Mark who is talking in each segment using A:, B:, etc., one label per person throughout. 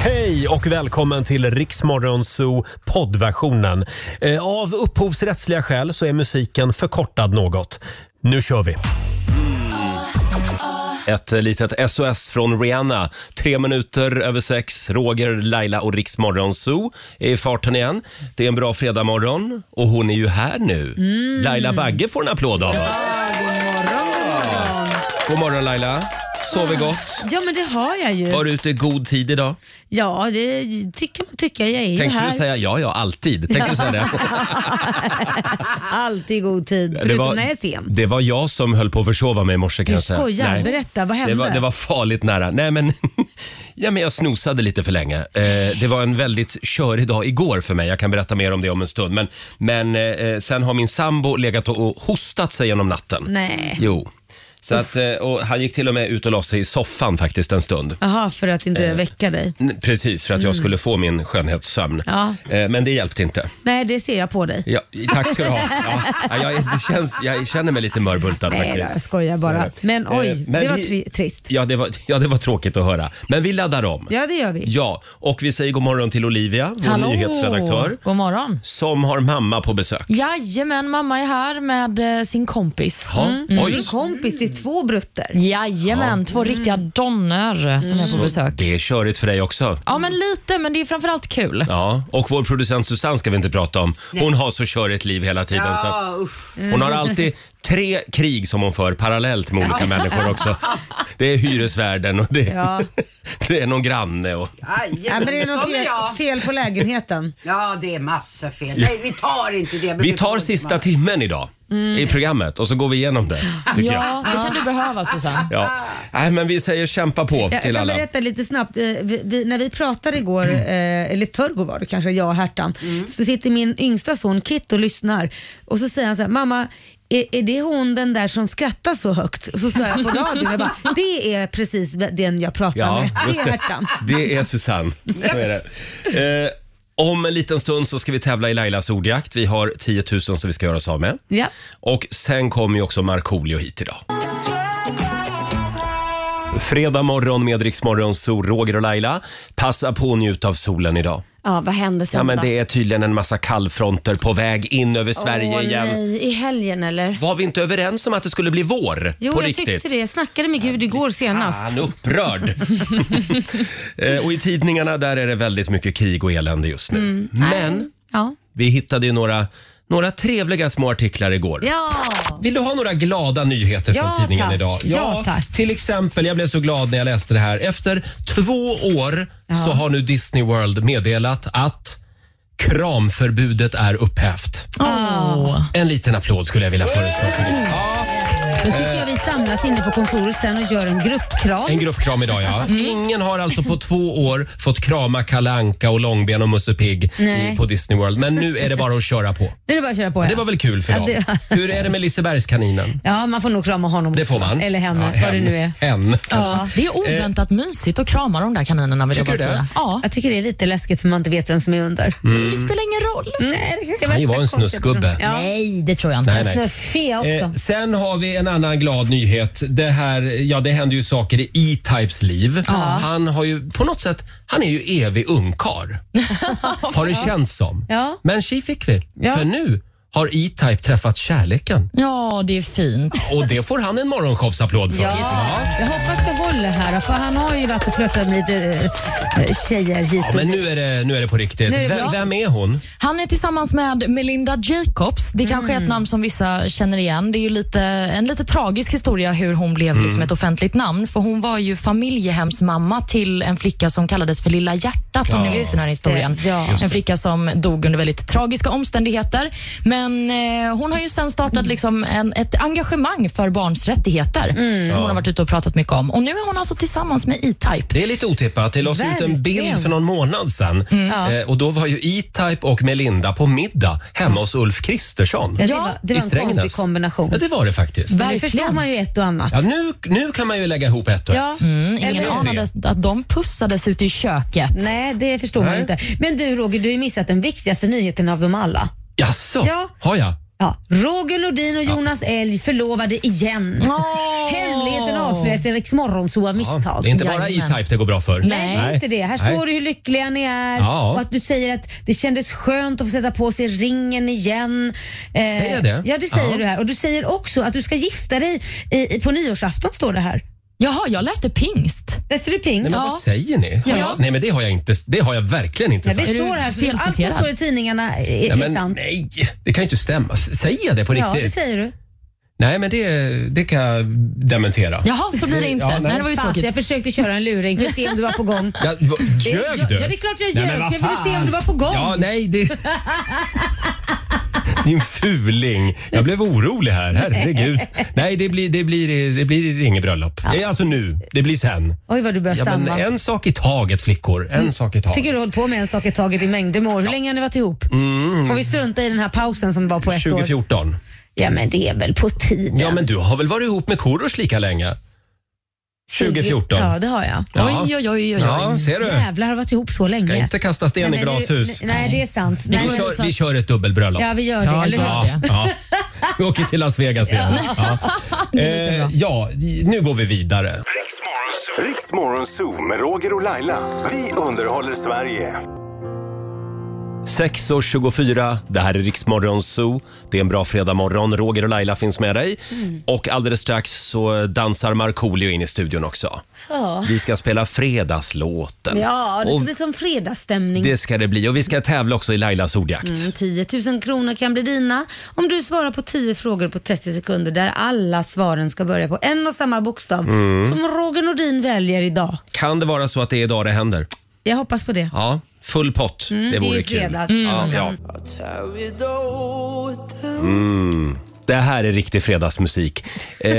A: Hej och välkommen till Riksmorgonzoo poddversionen. Eh, Av upphovsrättsliga skäl så är musiken förkortad något. Nu kör vi! Ett eh, litet SOS från Rihanna. Tre minuter över sex. Roger, Laila och Riksmorgonzoo är i farten igen. Det är en bra fredagmorgon och hon är ju här nu. Laila Bagge får en applåd av oss. God morgon Laila. Sover gott.
B: Ja men det har jag ju.
A: Var du ute i god tid idag?
B: Ja det tycker man tycker. Jag är ju
A: Tänkte
B: här.
A: du säga ja, ja, alltid? Tänkte du säga det?
B: Alltid i god tid, förutom när jag är sen.
A: det var jag som höll på att försova mig i morse kan
B: Du
A: jag säga.
B: skojar,
A: Nej.
B: berätta vad hände?
A: Det var, det var farligt nära. Nej men, ja, men jag snosade lite för länge. Eh, det var en väldigt körig dag igår för mig. Jag kan berätta mer om det om en stund. Men, men eh, sen har min sambo legat och, och hostat sig genom natten.
B: Nej.
A: Jo. Så att, eh, och han gick till och med ut och la sig i soffan faktiskt en stund.
B: Jaha, för att inte
A: Eh.
B: väcka dig.
A: N- Precis, för att jag skulle få min skönhetssömn.
B: Mm. Ja.
A: Eh, Men det hjälpte inte.
B: Nej det ser jag på dig.
A: Ja, tack ska du ha. Ja, ja, jag, det känns, jag känner mig lite mörbultad
B: Nej då,
A: faktiskt.
B: jag skojar
A: Så är
B: bara.
A: det.
B: Men
A: Eh,
B: oj,
A: men
B: det var
A: vi-
B: tri- trist.
A: Ja det, var, ja, det var tråkigt att höra. Men vi laddar om.
B: Ja det gör vi.
A: Ja, och vi säger god morgon till Olivia, vår nyhetsredaktör,
C: God morgon.
A: som har mamma på besök.
C: Jajamän, mamma är här med eh, sin kompis. Mm.
A: Ja,
B: Din
A: Oj,
B: kompis, Mm, det är två brutter.
C: Jajamän, två riktiga donner som är på besök.
A: Mm. det är körigt för dig också.
C: Ja, men lite, men det är framförallt kul.
A: Ja, och vår producent Susanne ska vi inte prata om. Hon har så körigt liv hela tiden. Så att hon
B: Mm.
A: har alltid tre krig som hon för parallellt med olika människor också. Det är hyresvärden och det,
B: Ja.
A: det är någon granne. Och,
B: Ja,
D: Jajamän,
B: men det är
D: sån
B: något fel,
D: jag.
B: fel på lägenheten.
D: Ja, det är massa fel. Nej, vi tar inte det. Jag
A: vi
D: brukar
A: tar
D: ta
A: sista
D: det.
A: timmen idag
B: Mm.
A: i programmet och så går vi igenom det, tycker jag.
C: Ja, det kan du behöva Susanne.
A: Ja. Nej, men vi säger kämpa på
B: Jag, jag
A: till
B: kan
A: alla. Mm.
B: berätta lite snabbt. Eh, Vi, vi, när vi pratade igår, eh, eller förrgår var det kanske, jag och Hertan, så sitter min yngsta son Kit och lyssnar och så säger han så här, mamma är, är det hon den där som skrattar så högt? Och så sa jag på radion, jag bara, det är precis den jag pratar med. Det är Hertan.
A: Det är Susanne. Så är det. Eh, om en liten stund så ska vi tävla i Lailas ordjakt. Vi har 10 000 som vi ska göra oss av med.
B: Ja.
A: Och sen kommer ju också Markoolio hit idag. Fredag morgon med Rix Morgon, så Roger och Laila. Passa på att njuta av solen idag.
E: Ja, vad hände
A: Ja,
E: söndag?
A: men det är tydligen en massa kallfronter på väg in över Sverige
B: Åh,
A: igen.
B: nej, I helgen eller?
A: Var vi inte överens om att det skulle bli vår?
B: Jo,
A: på
B: jag
A: riktigt? Ah,
B: tyckte det. Jag snackade med Gud igår senast.
A: Han är upprörd. Eh, och i tidningarna där är det väldigt mycket krig och elände just nu.
B: Mm.
A: Men
B: Ja.
A: vi hittade ju några, några trevliga små artiklar igår.
B: ja.
A: Vill du ha några glada nyheter
B: Ja,
A: från tidningen
B: tack.
A: idag?
B: Ja, tack.
A: Till exempel, jag blev så glad när jag läste det här. Efter två år så har nu Disney World meddelat att kramförbudet är upphävt.
C: Åh.
A: En liten applåd skulle jag vilja föreslå. för det.
B: Då tycker jag vi samlas inne på kontoret sen och gör en gruppkram.
A: En gruppkram idag ja.
B: Mm.
A: Ingen har alltså på två år fått krama Kalle Anka och Långben och Musse Pigg
B: Nej.
A: i- på Disney World. Men nu är det bara att köra på.
B: Nu är det bara att köra på. Ja.
A: Det var väl kul för
B: Ja,
A: dem?
B: det-
A: Hur är det med Lisebergskaninen?
B: Ja, man får nog krama honom
A: Det
B: också.
A: får man.
B: Eller henne,
A: Ja,
B: vad det
A: hen.
B: nu är.
A: Hen.
C: Ja, det är oväntat mysigt att krama de där kaninerna vill jag bara
A: Tycker du det?
C: säga. Ja,
B: Jag tycker det är lite läskigt för man inte vet vem som är under.
C: det spelar ingen roll.
B: Nej, det kan
A: kan Mm. ju vara en snuskgubbe.
B: Ja.
C: Nej, det tror jag inte.
A: nej.
B: Snuskfea också.
A: Eh, sen har vi en annan glad nyhet. Det, här, ja, det händer ju saker i E-Types liv. Han har ju på något sätt, han är ju evig ungkar. har det känts som.
B: Ja.
A: Men tji fick vi.
B: Ja.
A: För nu har E-Type träffat kärleken.
C: Ja, det är fint.
A: Och det får han en morgonshowsapplåd för.
B: Ja. Jag hoppas det håller här för han har ju varit och flörtat med lite eh, tjejer hit
A: Ja,
B: och
A: men nu är det, nu är det på riktigt.
B: Nu är det
A: vem,
B: bra.
A: vem är hon?
C: Han är tillsammans med Melinda Jacobs. Det kanske
B: Mm.
C: är ett namn som vissa känner igen. Det är ju lite, en lite tragisk historia hur hon blev liksom ett offentligt namn. För Hon var ju familjehemsmamma till en flicka som kallades för Lilla hjärtat, om
A: Ja.
C: ni vet den här historien.
B: det, ja. Just
C: En flicka som dog under väldigt tragiska omständigheter. Men eh, hon har ju sen
B: Mm.
C: startat liksom en, ett engagemang för barns rättigheter
B: Mm.
C: som hon har varit ute och pratat mycket om. Och Nu är hon alltså tillsammans med E-Type.
A: Det är lite otippat. Det lades ut en
B: Verkligen. Mm.
A: bild för någon månad sedan. Eh, och då var ju E-Type och Melinda på middag hemma hos Ulf Kristersson.
B: Ja, det var, det
A: i
B: var en
A: Strängnäs.
B: konstig kombination.
A: Ja, det var det faktiskt.
B: Men nu förstår
C: Verkligen.
B: man ju ett och annat.
A: Ja, nu, nu kan man ju lägga ihop ett och ett.
B: Ja.
C: Mm, ingen
B: Eller-
C: anade att de pussades ute i köket.
B: Nej, det förstår man
A: Nej.
B: ju inte. Men du Roger, du har ju missat den viktigaste nyheten av dem alla.
A: Jaså?
B: Ja.
A: Har jag?
B: Ja, Roger Nordin och Jonas Elg förlovade igen.
C: Åh!
B: Hemligheten avslöjas i Riks Morgonzoo av misstag.
A: Ja, det är inte bara
C: Jajamän.
A: E-Type det går bra för.
B: Nej,
C: Nej.
B: det är inte det. Här
A: Nej.
B: står det hur lyckliga ni är
A: Ja.
B: och att du säger att det kändes skönt att få sätta på sig ringen igen. Eh,
A: Säger jag det?
B: Ja, det säger
A: Ja.
B: du här. Och du säger också att du ska gifta dig i, i, på nyårsafton, står det här.
C: Jaha, jag läste pingst.
B: Läste du
A: Nej,
B: pingst?
A: men
C: Ja.
A: vad säger ni? Har jag- Nej, men det har jag inte. Det har jag verkligen inte
B: Ja,
A: sagt.
B: det
C: Är du
B: står här, så allt som
C: felciterad?
B: står i tidningarna är,
A: Nej,
B: är
A: men,
B: sant.
A: nej, det kan ju inte stämma. S- Säger jag det på
B: Ja, det
A: riktigt?
B: säger du.
A: nej, men det, det kan jag dementera.
C: Jaha, så blir det inte.
A: Ja, nej.
C: nej. det var ju
B: Fan, så
C: tråkigt.
B: jag försökte köra en luring för att se om du var på gång.
A: Ja, va- ljög
B: Ja,
A: du?
B: ja, det är klart
A: Nej,
B: jag ljög.
A: men
B: Jag
A: vad
B: ville se om du var på gång.
A: Ja, nej, det... Din fuling. Jag blev orolig här. Herregud. Nej, det blir, det blir, det blir inget bröllop. Det är alltså nu. Det blir sen.
B: Oj, vad du börjar
A: Ja, men
B: stamma.
A: en sak i taget, flickor. En sak i taget.
B: Mm. tycker du har hållit på med en sak i taget i mängder med år. Hur länge har ni varit ihop?
A: Mm.
B: Och vi struntar i den här pausen som var på ett år.
A: 2014.
B: Ja men det är väl på tiden.
A: Ja, men du har väl varit ihop med Korosh lika länge? 2014.
B: Ja det har jag.
A: Ja.
C: Oj, oj, oj, oj. oj.
A: Ja, ser du?
B: Jävlar har varit ihop så länge.
A: Ska inte kasta sten i
B: Nej, men det-
A: glashus.
B: Nej, nej det är sant.
A: Vi
B: Nej, men-
A: kör, vi kör ett dubbelbröllop.
B: Ja vi gör det.
C: Ja,
B: eller hur?
C: ja.
A: Ja, alltså. ja. Vi åker till Las Vegas igen. Ja. Eh, ja, nu går vi vidare.
E: Riks Morgonzoo med Roger och Laila. Vi underhåller Sverige.
A: 6.24, det här är Riksmorgon Zoo. Det är en bra fredagmorgon. Roger och Laila finns med dig.
B: Mm.
A: Och alldeles strax så dansar Markoolio in i studion också.
B: Ja.
A: Vi ska spela fredagslåten.
B: Ja, det
A: och
B: ska bli som fredagsstämning.
A: det ska det bli. Och vi ska tävla också i Lailas ordjakt.
B: 10 000 kronor kan bli dina om du svarar på 10 frågor på 30 sekunder där alla svaren ska börja på en och samma bokstav
A: Mm.
B: som Roger Nordin väljer idag.
A: Kan det vara så att det är idag det händer?
B: Jag hoppas på det.
A: Ja, full pott. det
B: Mm, det
A: vore
B: är
A: kul.
B: fredag.
A: Ja, ja. Mm. Det här är riktig fredagsmusik. Eh,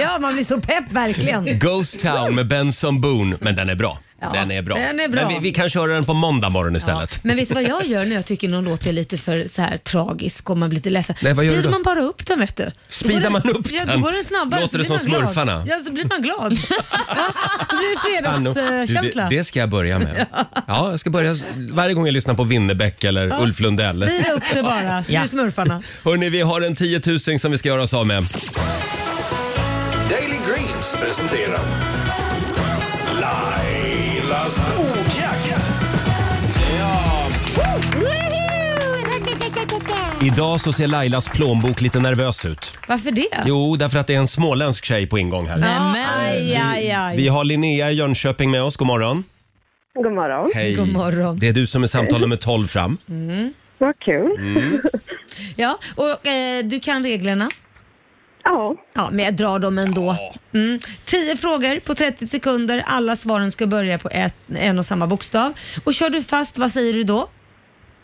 B: Ja, man blir så pepp verkligen.
A: Ghost Town med Benson Boone. Men den är bra.
B: Ja,
A: den är bra.
B: den är bra.
A: Men vi, vi kan köra den på måndag morgon
B: Ja,
A: istället.
B: men vet du vad jag gör när jag tycker någon låt är lite för så här tragisk och man blir lite ledsen?
A: Nej, vad gör du
B: Speedar
A: då?
B: man bara upp den vet du. Då
A: Speedar
B: går
A: man
B: den-
A: upp
B: ja,
A: den?
B: Då går den snabbare.
A: Låter
B: så
A: det
B: blir
A: som
B: man glad.
A: smurfarna?
B: Ja, så blir man glad. Va? Då blir det
A: Anno, du,
B: fredagskänsla.
A: det, det ska jag börja med. Ja, jag ska börja varje gång jag lyssnar på Winnerbäck eller Ulf Lundell.
B: Speeda upp det bara, så blir det smurfarna.
A: Hörni, vi har en 10 000 som vi ska göra oss av med.
F: Daily Greens presenterar Lailas ordjakt.
A: Idag så ser Lailas plånbok lite nervös ut.
B: Varför det?
A: Jo, därför att det är en småländsk tjej på ingång här.
B: Ja,
C: Men-
B: aj, aj, aj.
A: Vi har Linnea i Jönköping med oss. God morgon.
G: God morgon.
A: Hej.
B: God morgon.
A: Det är du som är samtal nummer 12 fram.
G: Vad kul.
B: Ja, och eh, du kan reglerna?
G: Ja,
B: Ja, men jag drar dem ändå. Mm. Tio frågor på 30 sekunder. Alla svaren ska börja på ett, en och samma bokstav. Och kör du fast, vad säger du då?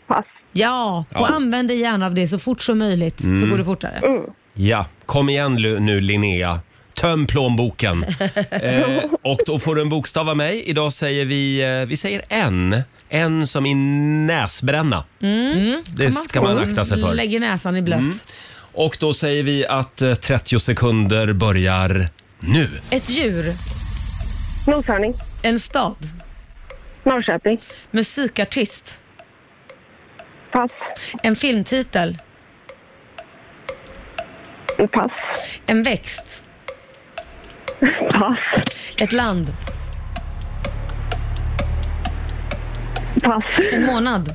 G: pass.
B: Ja, och använd dig gärna av det så fort som möjligt så
A: Mm.
B: går det fortare.
G: Mm.
A: Ja, kom igen Lu- nu Linnea. Töm plånboken. eh, och då får du en bokstav av mig. Idag säger vi, eh, vi säger en. En som i näsbränna. Mm. Det ska
B: Mm.
A: man akta sig för. Mm.
B: Lägger näsan i blöt.
A: Och då säger vi att eh, 30 sekunder börjar nu.
B: Ett djur,
G: Noshörning.
B: en stad,
G: Norrköping.
B: musikartist,
G: Pass.
B: en filmtitel,
G: Pass.
B: en växt,
G: Pass.
B: ett land,
G: Pass.
B: en månad,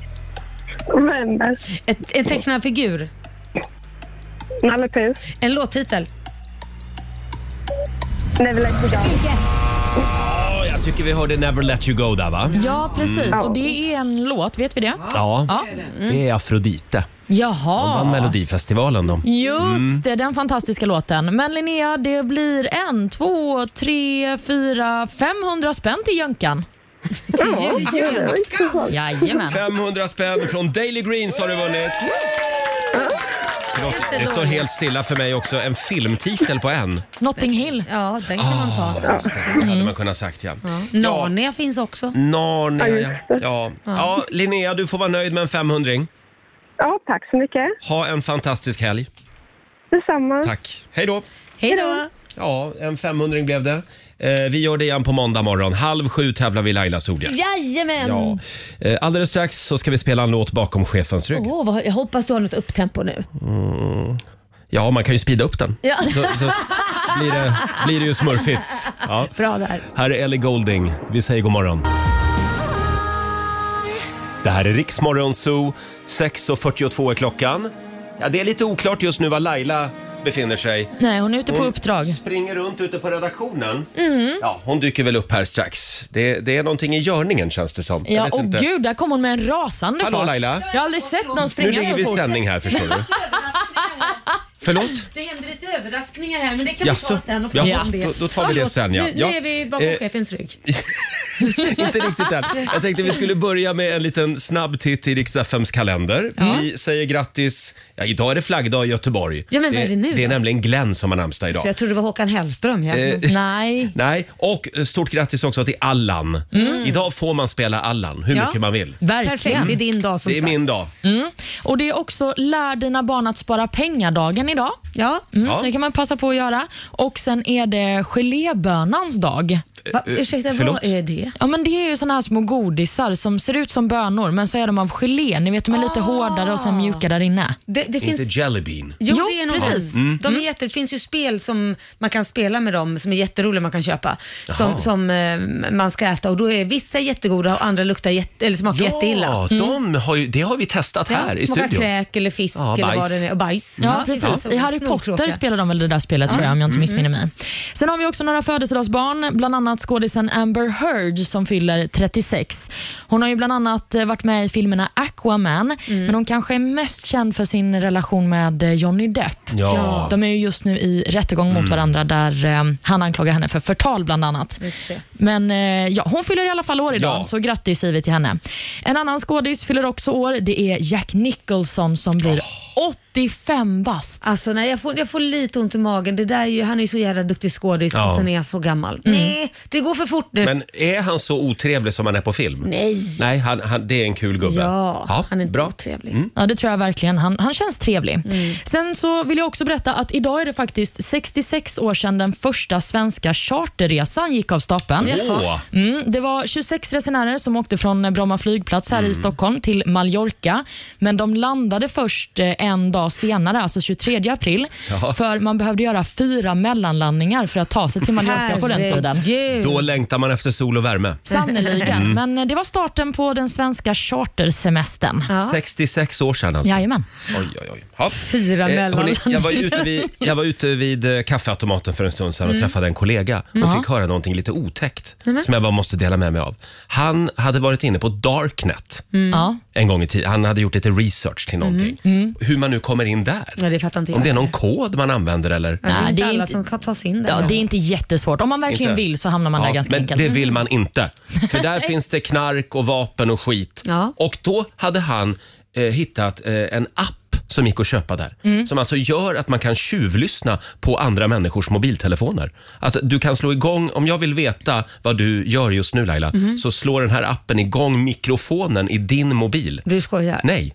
G: November.
B: ett, en tecknad figur,
G: Nalle Puh.
B: en låttitel.
G: Never let you go.
A: Ja, jag tycker vi hörde Never Let You Go där va?
C: Ja, precis. Och det är en låt, vet vi det?
A: Ja,
C: Ja.
A: det är Afrodite.
C: Jaha.
A: Vann Melodifestivalen då.
C: Just
A: Mm.
C: det, den fantastiska låten. Men Linnea, det blir en, två, tre, fyra, 500 spänn till jänkan. Jajamän.
A: 500 spänn från Daily Greens har du vunnit. Förlåt, det står helt stilla för mig också. En filmtitel på en.
C: Notting Hill.
B: Ja, den kan man ta.
A: Just det, det hade man kunnat sagt ja. Ja,
B: Narnia finns också.
A: Narnia
G: Ja,
A: ja.
G: just
A: Ja.
G: det.
A: Ja. Linnea du får vara nöjd med en 500
G: Ja, tack så mycket.
A: Ha en fantastisk helg.
G: Detsamma.
A: Tack. Hej då.
B: Hej då!
A: Ja, en 500 blev det. Eh, vi gör det igen på måndag morgon. Halv sju tävlar vi Lailas ordjakt.
B: Jajamän!
A: Ja. Eh, Alldeles strax så ska vi spela en låt bakom chefens rygg.
B: Åh, vad, jag hoppas du har något upptempo nu.
A: Ja, man kan ju speeda upp den.
B: Ja.
A: Så, så blir, det, blir det ju smurfits. Ja.
B: Bra där.
A: Här är Ellie Golding. Vi säger god morgon. Det här är Riksmorgon Zoo. 6.42 är klockan. Ja, det är lite oklart just nu var Laila befinner sig.
C: Nej, hon är ute på uppdrag.
A: springer runt ute på redaktionen. Ja, hon dyker väl upp här strax. Det, det är någonting i görningen känns det som. Jag
C: Ja,
A: vet
C: och
A: inte.
C: gud, där kom hon med en rasande
A: Hallå,
C: fart.
A: Laila.
C: Jag har aldrig sett någon
A: Nu
C: springa
A: ligger
C: så
A: vi i
C: fort.
A: sändning här förstår du. Förlåt?
B: Det händer lite överraskningar här men det kan
A: Jaså?
B: vi ta sen. Och
A: Ja,
B: prata om det.
A: då- då tar vi det sen, ja.
B: Nu,
A: Ja.
B: nu är vi bakom
A: Eh,
B: chefens rygg.
A: Inte riktigt än. Jag tänkte vi skulle börja med en liten snabb titt i Rix FMs kalender. Vi säger grattis. Ja, idag är det flaggdag i Göteborg.
B: Ja, men vad är det nu
A: Det är
B: då?
A: nämligen Glenn som har namnsdag idag.
B: Så jag trodde det var Håkan Hellström. Ja.
A: Eh,
C: Nej.
A: Nej, och stort grattis också till Allan. Idag får man spela Allan hur
B: Mm. Ja.
A: mycket man vill.
C: Verkligen.
B: Perfekt, det är din dag som
A: Det är
B: sagt.
A: min dag.
C: Och Det är också lär dina barn att spara pengar-dagen idag.
B: Ja.
C: Mm,
A: Ja.
C: Så det kan man passa på att göra. Och Sen är det gelébönans dag.
B: Va, ursäkta,
A: Eh, förlåt?
B: vad är det?
C: Ja, men det är ju såna här små godisar som ser ut som bönor, men så är de av gelé. Ni vet, de är lite hårdare och sen mjuka där inne.
B: Det, det finns...
A: Inte Jelly Bean.
B: Jo,
C: Jo,
B: det är Mm. nog
C: precis.
B: De är jätte, det finns ju spel som man kan spela med dem som är jätteroliga man kan köpa. Som, som eh, man ska äta och då är vissa jättegoda och andra luktar jätte, eller smakar jätteilla.
A: Ja, de har ju, det har vi testat här i
B: smakar
A: studion.
B: kräk eller fisk
A: Ja,
B: eller vad
A: bajs.
B: det nu är. Och bajs.
C: Ja, precis.
B: som
C: I Harry
B: snorkråka.
C: Potter spelar de väl det där spelet tror jag, om jag inte missminner mig. Sen har vi också några födelsedagsbarn, bland annat skådisen Amber Heard som fyller 36. Hon har ju bland annat eh, varit med i filmerna Aquaman, men hon kanske är mest känd för sin relation med eh, Johnny Depp.
A: Ja. Ja.
C: De är ju just nu i rättegång mot varandra där eh, han anklagar henne för förtal bland annat.
B: Just det.
C: Men eh, ja, hon fyller i alla fall år idag,
A: Ja.
C: så grattis säger vi till henne. En annan skådis fyller också år. Det är Jack Nicholson som blir 85 bast.
B: Alltså nej, jag får, jag får lite ont i magen. Det där är ju, han är ju så jävla duktig skådis
A: Ja.
B: och sen är jag så gammal.
C: Mm.
B: Nej, det går för fort nu.
A: Men är han så otrevlig som han är på film?
B: nej.
A: Nej, han, han, det är en kul gubbe.
B: Ja, han är inte
A: bra. Mm.
B: otrevlig.
C: Ja, det tror jag verkligen. Han, han känns trevlig. Sen så vill jag också berätta att idag är det faktiskt 66 år sedan den första svenska charterresan gick av stapeln.
A: Åh,
C: Mm, det var 26 resenärer som åkte från Bromma flygplats här i Stockholm till Mallorca, men de landade först eh, en dag senare, alltså 23 april,
A: Jaha.
C: för man behövde göra fyra mellanlandningar för att ta sig till Mallorca på den tiden.
B: Herregud.
A: då längtar man efter sol och värme.
C: Sannerligen, men eh, det var starten på den svenska chartersemestern.
B: Ja.
A: 66 år sedan alltså.
C: Jajamän.
A: Oj, oj, oj. Ja. Eh,
B: Fyra mellanlandningar.
A: jag, var ute vid, jag var ute vid eh, kaffeautomaten för en stund sedan och
B: Mm.
A: träffade en kollega och fick höra någonting lite otäckt som jag bara måste dela med mig av. Han hade varit inne på Darknet
B: Mm.
C: Ja.
A: en gång i tiden. Han hade gjort lite research till någonting. Hur man nu kommer in där.
B: mm. Ja, det fattar inte
A: Om
B: jag.
A: det är någon kod man använder eller?
B: det är
C: Nej, det
B: inte
C: är
B: alla
C: inte-
B: som kan ta sig in där.
C: Ja, det är inte jättesvårt. Om man verkligen
A: Inte?
C: vill så hamnar man där ganska
A: men
C: enkelt. Mm.
A: det vill man inte. För där finns det knark och vapen och skit.
B: Ja.
A: Och då hade han eh, hittat eh, en app som gick att köpa där.
C: Mm.
A: Som alltså gör att man kan tjuvlyssna på andra människors mobiltelefoner. Alltså, du kan slå igång, om jag vill veta vad du gör just nu Laila,
C: Mm.
A: så slår den här appen igång mikrofonen i din mobil.
B: Du skojar?
A: Nej,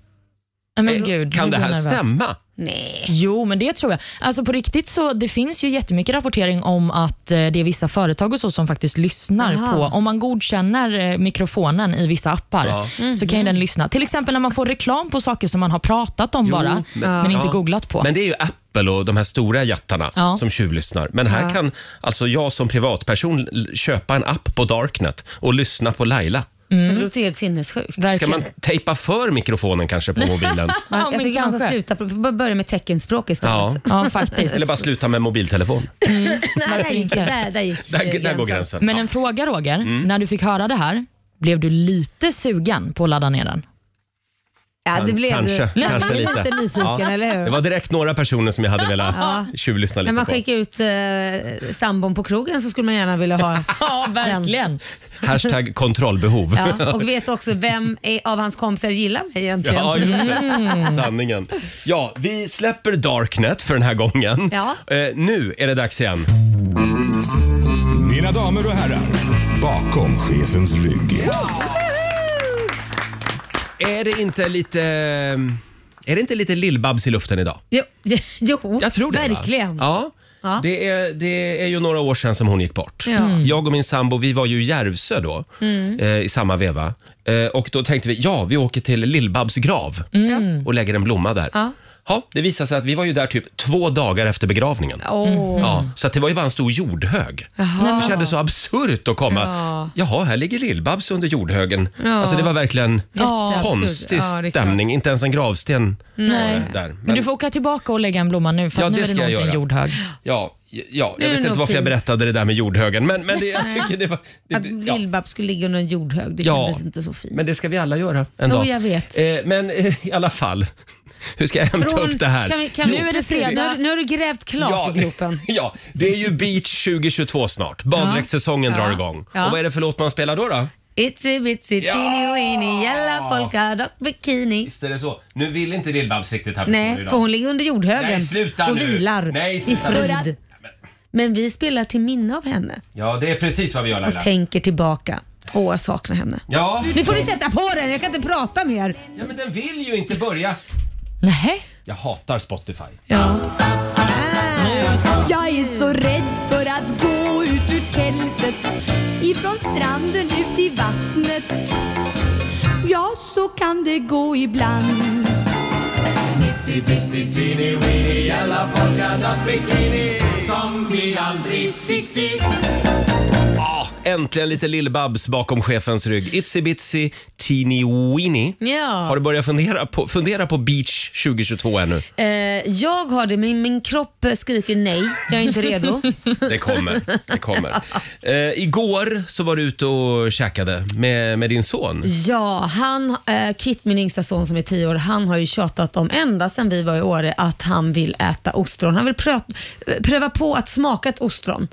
C: Nej, men gud,
A: kan
C: nu
A: det
C: blir jag
A: här
C: nervös.
A: stämma?
B: Nej.
C: Jo, men det tror jag. Alltså på riktigt så, det finns ju jättemycket rapportering om att eh, det är vissa företag och så som faktiskt lyssnar
B: Aha.
C: på, om man godkänner eh, mikrofonen i vissa appar
A: Ja.
C: så kan ju den lyssna. Till exempel när man får reklam på saker som man har pratat om bara, men, inte
A: Ja.
C: googlat på.
A: Men det är ju Apple och de här stora jättarna
C: Ja.
A: som tjuvlyssnar. Men här kan alltså jag som privatperson l- köpa en app på Darknet och lyssna på Laila.
C: Mm.
B: Men Det låter helt sinnessjukt.
A: Ska
C: Verkligen.
A: man tejpa för mikrofonen kanske på mobilen?
C: Ja,
B: jag
C: men
B: tycker man ska
C: kanske.
B: sluta, pr- bara börja med teckenspråk istället.
A: Ja.
C: Ja, faktiskt.
A: Eller bara sluta med mobiltelefon.
B: Nej, där, gick,
C: inte?
B: där, där gick eh,
A: Där, där går gränsen.
C: Men
A: Ja.
C: en fråga Roger,
A: Mm.
C: när du fick höra det här, blev du lite sugen på att ladda ner den?
B: Ja, det blev
A: Kanske,
B: Ja,
A: kanske
B: man blir
A: lite.
B: lite nyfiken,
A: Ja.
B: eller hur?
A: Det var direkt några personer som jag hade velat tjuvlyssna
B: När
A: lite
B: man
A: på.
B: skickar ut eh, sambon på krogen så skulle man gärna vilja ha
C: Ja, verkligen.
A: Hashtag kontrollbehov.
B: ja, och vet också vem är, av hans kompisar gillar mig egentligen. Mm.
A: Ja, just det. Sanningen. Ja, vi släpper Darknet för den här gången.
B: Ja.
A: Eh, nu är det dags igen.
F: Mina damer och herrar, bakom chefens rygg.
A: Är det inte lite... eh, Är det inte lite lillbabs i luften idag?
B: Jo, jo
A: Jag tror det. va?
B: verkligen.
A: Ja.
B: Ja.
A: Det, är, det är ju några år sedan som hon gick bort.
B: Ja. Mm.
A: Jag och min sambo, vi var ju i Järvsö då, eh, i samma veva. Eh, och då tänkte vi, ja, vi åker till Lillbabs grav och lägger en blomma där.
B: Mm. Ja.
A: Ja, det visade sig att vi var ju där typ två dagar efter begravningen.
B: Åh.
A: Ja, så att det var ju bara en stor jordhög. Det kändes så absurt att komma.
B: Ja.
A: Jaha, här ligger Lill-Babs under jordhögen.
B: Ja.
A: Alltså det var verkligen
B: Jätteabsurt.
A: konstig
B: Ja, det är klart.
A: stämning. Inte ens en gravsten var
C: Nej.
A: det där.
C: Men du får åka tillbaka och lägga en blomma nu för
A: Ja,
C: att
A: det
C: nu är det
A: ska jag
C: någonting
A: göra.
C: jordhög.
A: Ja, ja,
B: Nu är
A: jag
B: det
A: vet inte
B: nog
A: varför jag
B: fint.
A: berättade det där med jordhögen, men, men det, jag tycker det var... Det,
B: Att
A: ja.
B: lill skulle ligga under en jordhög, det kändes inte så fint.
A: men det ska vi alla göra en
B: Jo,
A: dag.
B: jag vet.
A: Eh, men eh, i alla fall, hur ska jag hämta upp det här?
B: Kan vi, kan vi,
A: Jo,
B: nu är det fredag, nu, har- nu har du grävt klart i gropen.
A: ja, det är ju beach 2022 snart. Baddräktssäsongen
B: Ja.
A: drar igång.
B: Ja.
A: Och vad är det för låt man spelar då? då?
B: Itsy bitsy
A: Ja!
B: teeny weeny yellow polka dot bikini.
A: Visst är det så. Nu vill inte Lill-Babs riktigt här på
B: Nej,
A: idag.
B: för hon ligger under jordhögen
A: Nej, sluta
B: och
A: nu.
B: vilar
A: Nej,
B: i
A: sluta.
B: frid. Men vi spelar till minne av henne
A: Ja, det är precis vad vi gör
B: och
A: Laila.
B: tänker tillbaka. Åh, jag saknar henne.
A: Ja.
B: Nu får du sätta på den, jag kan inte prata mer.
A: ja, men den vill ju inte börja.
C: Nej.
A: Jag hatar Spotify.
B: Ja.
H: Jag är så rädd för att gå ut ur tältet Ifrån stranden ut i vattnet Ja, så kan det gå ibland
A: Ah, äntligen lite Lill-Babs bakom chefens rygg. Itsy bitsy teeny weeny.
B: Ja.
A: Har du börjat fundera på, fundera på beach 2022 ännu?
B: Eh, jag har det, men min kropp skriker nej. Jag är inte redo.
A: Det kommer. Det kommer. Eh, igår så var du ute och käkade med, med din son.
B: Ja, han, eh, Kit, min yngsta son som är 10 år, han har ju tjatat om ända sedan vi var i Åre att han vill äta ostron. Han vill prö- pröva på att smaka ett ostron.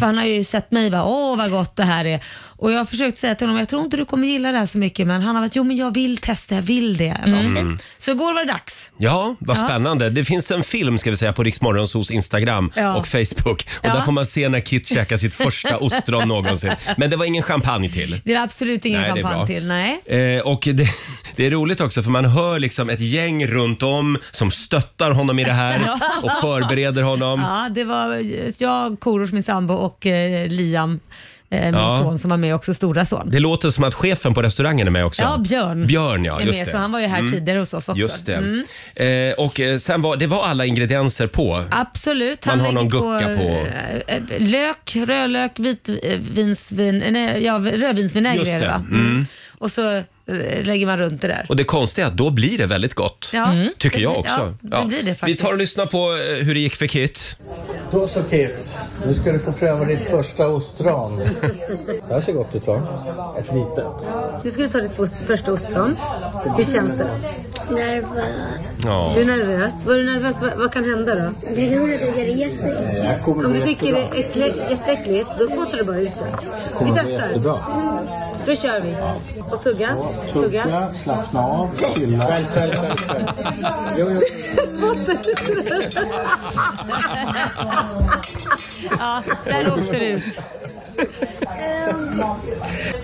B: För han har ju sett mig bara, åh vad gott det här är. Och jag har försökt säga till honom, jag tror inte du kommer gilla det här så mycket, men han har varit, jo men jag vill testa, jag vill det. Jag bara, "Okej." Så igår var det dags.
A: Ja, vad spännande. Det finns en film ska vi säga på Riksmorgonsos Instagram
B: Ja.
A: och Facebook. Och
B: Ja.
A: Där får man se när Kit käkar sitt första ostron någonsin. Men det var ingen champagne till.
B: Det är absolut ingen
A: Nej, det är bra.
B: champagne till. Nej.
A: Eh, och det, det är roligt också för man hör liksom ett gäng runt om som stöttar honom i det här och förbereder honom.
B: Ja, det var jag, Korosh, min sambo och eh, Liam, eh, min
A: Ja.
B: son som var med också, stora son.
A: Det låter som att chefen på restaurangen är med också.
B: Ja, Björn.
A: Björn, ja.
B: är
A: Just
B: med,
A: det. Mm.
B: Så han var ju här tidigare hos oss också.
A: Just det.
B: Mm.
A: Eh, och eh, sen var, det var alla ingredienser på.
B: Absolut.
A: Man
B: Han
A: har någon
B: lägger
A: gucka på.
B: eh, eh, lök, rödlök, vitvinsvin, eh, nej, ja, rödvinsvinäger
A: Just
B: är
A: det,
B: det va? Mm. Och så eh, lägger man runt det där.
A: Och det konstiga är att då blir det väldigt gott.
B: Ja. Mm.
A: Tycker jag
B: Det blir-
A: också.
B: ja, det blir det
A: Vi
B: faktiskt.
A: tar och lyssnar på eh, hur det gick för Kit.
I: Då så Kit, nu ska du få pröva ditt första ostron. Det här ser gott ut va? Ett litet.
B: Nu ska du ta ditt första ostron. Hur känns det?
A: Ja.
B: är nervös. Var du nervös? Vad, kan hända då?
H: Det kan jag tycka är jätteäckligt
I: Det Eh, här kommer bli jättebra.
B: jätteäckligt, då spottar du bara ut det.
I: Det kommer bli jättebra.
B: Då kör vi. Och tugga.
I: Tugga, slappna av, chilla. Svälj, svälj, svälj. Jo, jo.
B: Ja, där åkte det ut.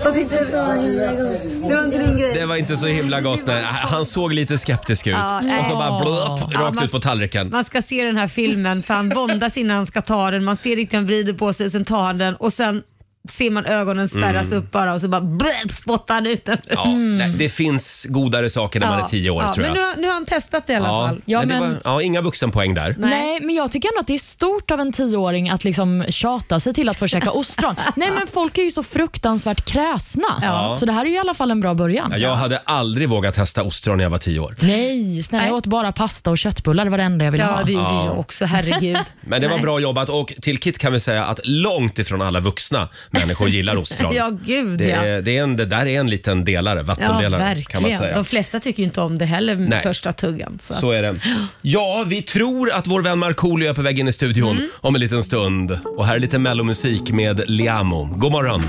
H: Jag tyckte det var så himla gott
B: Det var inte din grej.
A: Det var inte så himla gott. Nej. Han såg lite skeptisk ut.
B: Ja, nej.
A: och så bara blöp,
B: Ja,
A: rakt
B: man-
A: ut på tallriken.
B: Man ska se den här filmen för han våndas innan han ska ta den. Man ser riktigt han vrider på sig, sen tar han den och sen ser man ögonen spärras upp bara och så bara blip, spottar han ut den.
A: Mm. Ja, nej, det finns godare saker när man är tio år
B: Mm. Ja,
A: tror jag.
B: Men nu, har- nu har han testat det i alla
A: ja.
B: fall.
C: Ja,
A: men det
C: men-
A: var, ja, inga vuxenpoäng där.
C: Nej. men jag tycker ändå att det är stort av en tioåring att liksom tjata sig till att få käka ostron. Nej, men folk är ju så fruktansvärt kräsna.
B: Ja.
C: Så det här är ju i alla fall en bra början.
A: Ja, Jag hade aldrig vågat testa ostron när jag var tio år.
C: Nej, snälla jag
B: Nej.
C: åt bara pasta och köttbullar. Det var det enda jag ville
B: Ja,
C: ha.
B: det gjorde jag också. Herregud.
A: Men det var bra jobbat och till Kit kan vi säga att långt ifrån alla vuxna människor gillar ostron.
B: Ja, gud
A: det,
B: ja.
A: är, det, är en, det där är en liten delare,
B: Ja,
A: vattendelare kan man
B: verkligen.
A: säga.
B: De flesta tycker ju inte om det heller med
A: Nej.
B: första tuggan. Så.
A: Så är det. Ja, vi tror att vår vän Markoolio är på väg in i studion
B: Mm.
A: om en liten stund. Och här är lite mellomusik med Liamo. God morgon!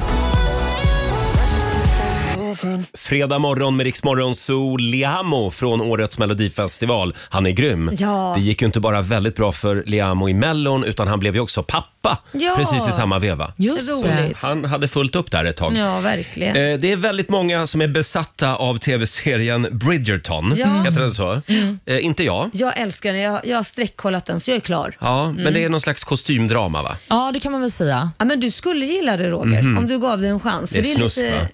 A: Fredag morgon med Riksmorgon Zoo, Liamo från årets melodifestival. Han är grym.
B: Ja.
A: Det gick ju inte bara väldigt bra för Liamo i Mellon utan han blev ju också pappa
B: Ja.
A: precis i samma veva.
C: Just det.
B: Roligt.
A: Han hade fullt upp där ett tag.
B: Ja, verkligen.
A: Eh, Det är väldigt många som är besatta av tv-serien Bridgerton.
B: Ja. Mm.
A: Heter den så? Eh, inte jag.
B: Jag älskar den. Jag, jag har streckkollat den så jag är klar.
A: Ja,
B: Mm.
A: men det är någon slags kostymdrama va?
C: Ja, det kan man väl säga.
B: Ja, men du skulle gilla det Roger, om du gav det en chans.
A: Mhm. Det är
B: För
A: snusk va?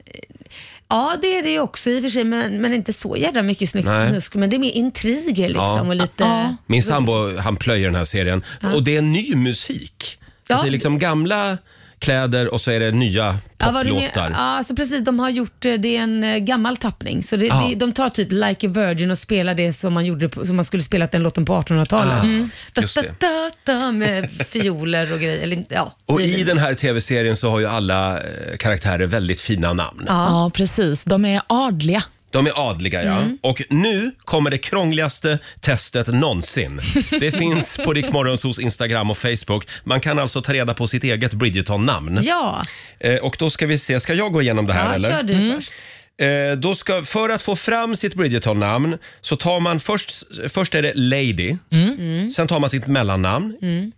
B: Ja det är det ju också i och för sig men, men inte så jävla mycket snyggt
A: Nej.
B: snusk. Men det är mer intriger liksom
A: Ja.
B: och lite...
C: Ja.
A: Min sambo han plöjer den här serien och det är ny musik.
B: Ja.
A: Så det är liksom gamla kläder och så är det nya
B: Ja, vad du men-
A: poplåtar.
B: ja, alltså precis. De har gjort, eh, det är en eh, gammal tappning. Så det,
A: Ja.
B: det, de tar typ Like a Virgin och spelar det som man, gjorde på, som man skulle spelat den låten på 1800-talet.
A: Ah,
B: Mm. Da,
A: just
B: da,
A: det.
B: da, da, med fioler och grejer. Eller, ja,
A: Och
B: det är
A: i
B: det.
A: den här tv-serien så har ju alla eh, karaktärer väldigt fina namn.
C: Ja, precis. De är adliga.
A: De är adliga, ja.
B: Mm.
A: Och nu kommer det krångligaste testet någonsin. Det finns på Rix Morgonzos Instagram och Facebook. Man kan alltså ta reda på sitt eget Bridgerton-namn.
B: Ja,
A: Eh, och då ska vi se, ska jag gå igenom det här
B: ja
A: eller?
B: kör du först.
A: Eh, då ska, för att få fram sitt Bridgerton-namn så tar man först, först är det Lady, Mm. sen tar man sitt mellannamn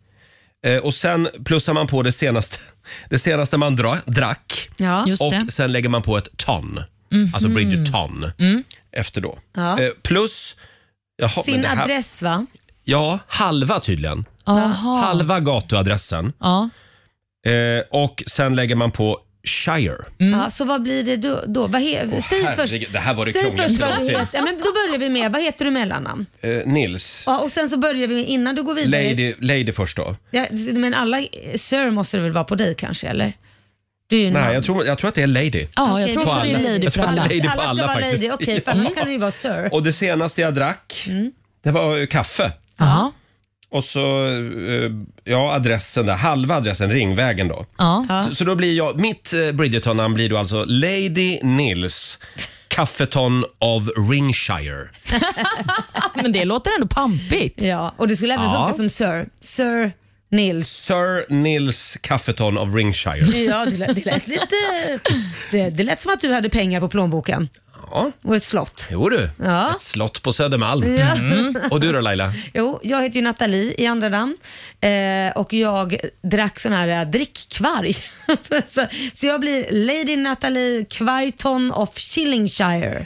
A: eh, och sen plussar man på det senaste, det senaste man dra, drack
B: Ja.
C: Just
A: och
C: det.
A: sen lägger man på ett ton, alltså Bridgerton, efter då.
B: Ja.
A: Eh, plus, jaha, men
B: Sin
A: det här,
B: adress va?
A: Ja, halva tydligen.
C: Aha.
A: Halva gatuadressen.
C: Ja.
A: Eh, och sen lägger man på Shire.
B: Ja, så vad blir det då? då? Vad he- säg
A: Mm. herregud,
B: först,
A: det här var det
B: säg
A: krångligaste
B: först vad du
A: någonsin.
B: heter. Ja, men Då börjar vi med, vad heter du mellannamn?
A: Eh, Nils.
B: Ja, och sen så börjar vi med, innan du går vidare.
A: Lady, lady först då.
B: Ja, men alla, eh, Sir måste det väl vara på dig kanske eller? Du är ju
A: Nej,
B: namn.
A: jag tror, jag tror att det är Lady.
C: Ja, jag
B: Okej,
C: tror
B: på
C: också det
A: alla.
C: är lady
A: Jag
C: för
A: tror att det är
C: alla.
A: lady. på
B: ska
A: alla
B: vara
A: faktiskt.
B: lady, okej, för annars kan det ju vara Sir.
A: Och det senaste jag drack, det var eh, kaffe.
C: Ja.
A: Och så, eh, ja adressen där, halva adressen, Ringvägen då.
C: Ja.
A: Så, så då blir jag, mitt eh, Bridgerton-namn blir då alltså Lady Nils Caffeton of Ringshire.
C: Men det låter ändå pampigt.
B: Ja, och det skulle även
A: Ja.
B: funka som Sir. Sir Nils.
A: Sir Nils Caffeton of Ringshire.
B: Ja, det lät, det lät lite... Det, det lät som att du hade pengar på plånboken
A: Ja,
B: och ett slott.
A: jo du.
B: Ja.
A: Ett slott på Södermalm. Mm. Och du då Laila?
B: Jo, jag heter ju Nathalie i andra namn eh, och jag drack sån här eh, drickkvarg. så, så jag blir Lady Nathalie Kvarton of Shillingshire.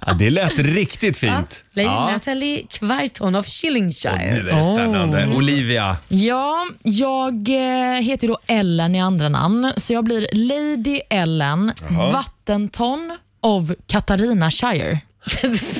A: Ja, det lät riktigt
B: Ja,
A: fint.
B: Lady
A: Ja.
B: Nathalie Kvarton of
A: Och
B: Shillingshire.
A: nu är det spännande. Olivia.
C: Ja, jag eh, heter ju då Ellen i andra namn, så jag blir Lady Ellen Vattenton of Katarina Shire.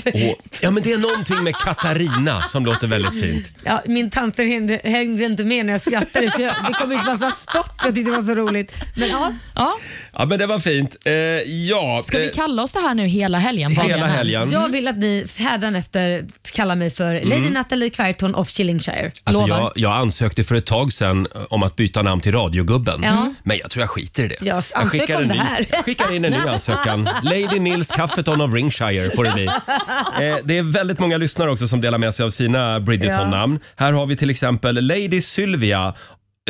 A: Och, ja, men det är någonting med Katarina som låter väldigt fint.
B: Ja, min tante hängde, hängde inte med när jag skrattade så jag, det kom ut massa spott. Jag tyckte det var så roligt. Men ja,
C: Ja,
A: Ja, men det var fint. Eh, ja,
C: ska vi
A: eh,
C: kalla oss det här nu hela helgen?
A: hela
C: Fabian?
A: helgen.
B: jag vill att ni hädanefter kallar mig för Lady
A: Mm.
B: Natalie Quaerton of Shillingshire.
A: Alltså
C: Lovar.
A: jag, jag ansökte för ett tag sedan om att byta namn till radiogubben. Mm.
B: Ja.
A: Men jag tror jag skiter i det.
B: Ja, ansök om
A: en
B: det
A: ny,
B: här.
A: jag skickar in en ny ansökan. Lady Nils Caffeton of Ringshire får det bli. Eh, det är väldigt många lyssnare också som delar med sig av sina Bridgerton-namn. Här har vi till exempel Lady Sylvia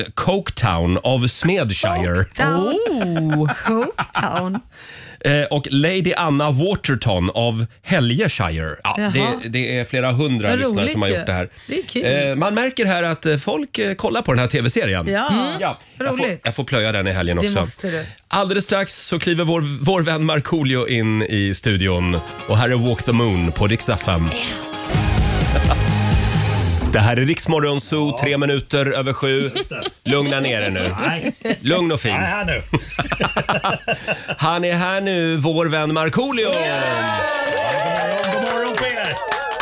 A: eh, Coketown of Smedshire
B: Town,
C: Oh,
B: Coketown.
A: eh, och Lady Anna Waterton av Helgeshire. Ja,
B: Jaha.
A: det, det är flera hundra
B: Vad
A: lyssnare
B: roligt
A: som har
B: ju.
A: gjort det här.
B: Det är kul.
A: Eh, man märker här att eh, folk eh, kollar på den här tv-serien.
B: Ja,
A: Ja, jag, får,
B: roligt.
A: jag får plöja den i helgen
B: Det
A: också.
B: måste du.
A: Alldeles strax så kliver vår, vår vän Markoolio in i studion. Och här är Walk the Moon på Rix FM. Det här är Riksmorgon Zoo, tre minuter över sju. Lugna ner er nu.
J: Nej,
A: Lugn och fin.
J: jag är här nu.
A: Han är här nu, vår vän Markoolio!
J: God morgon på er!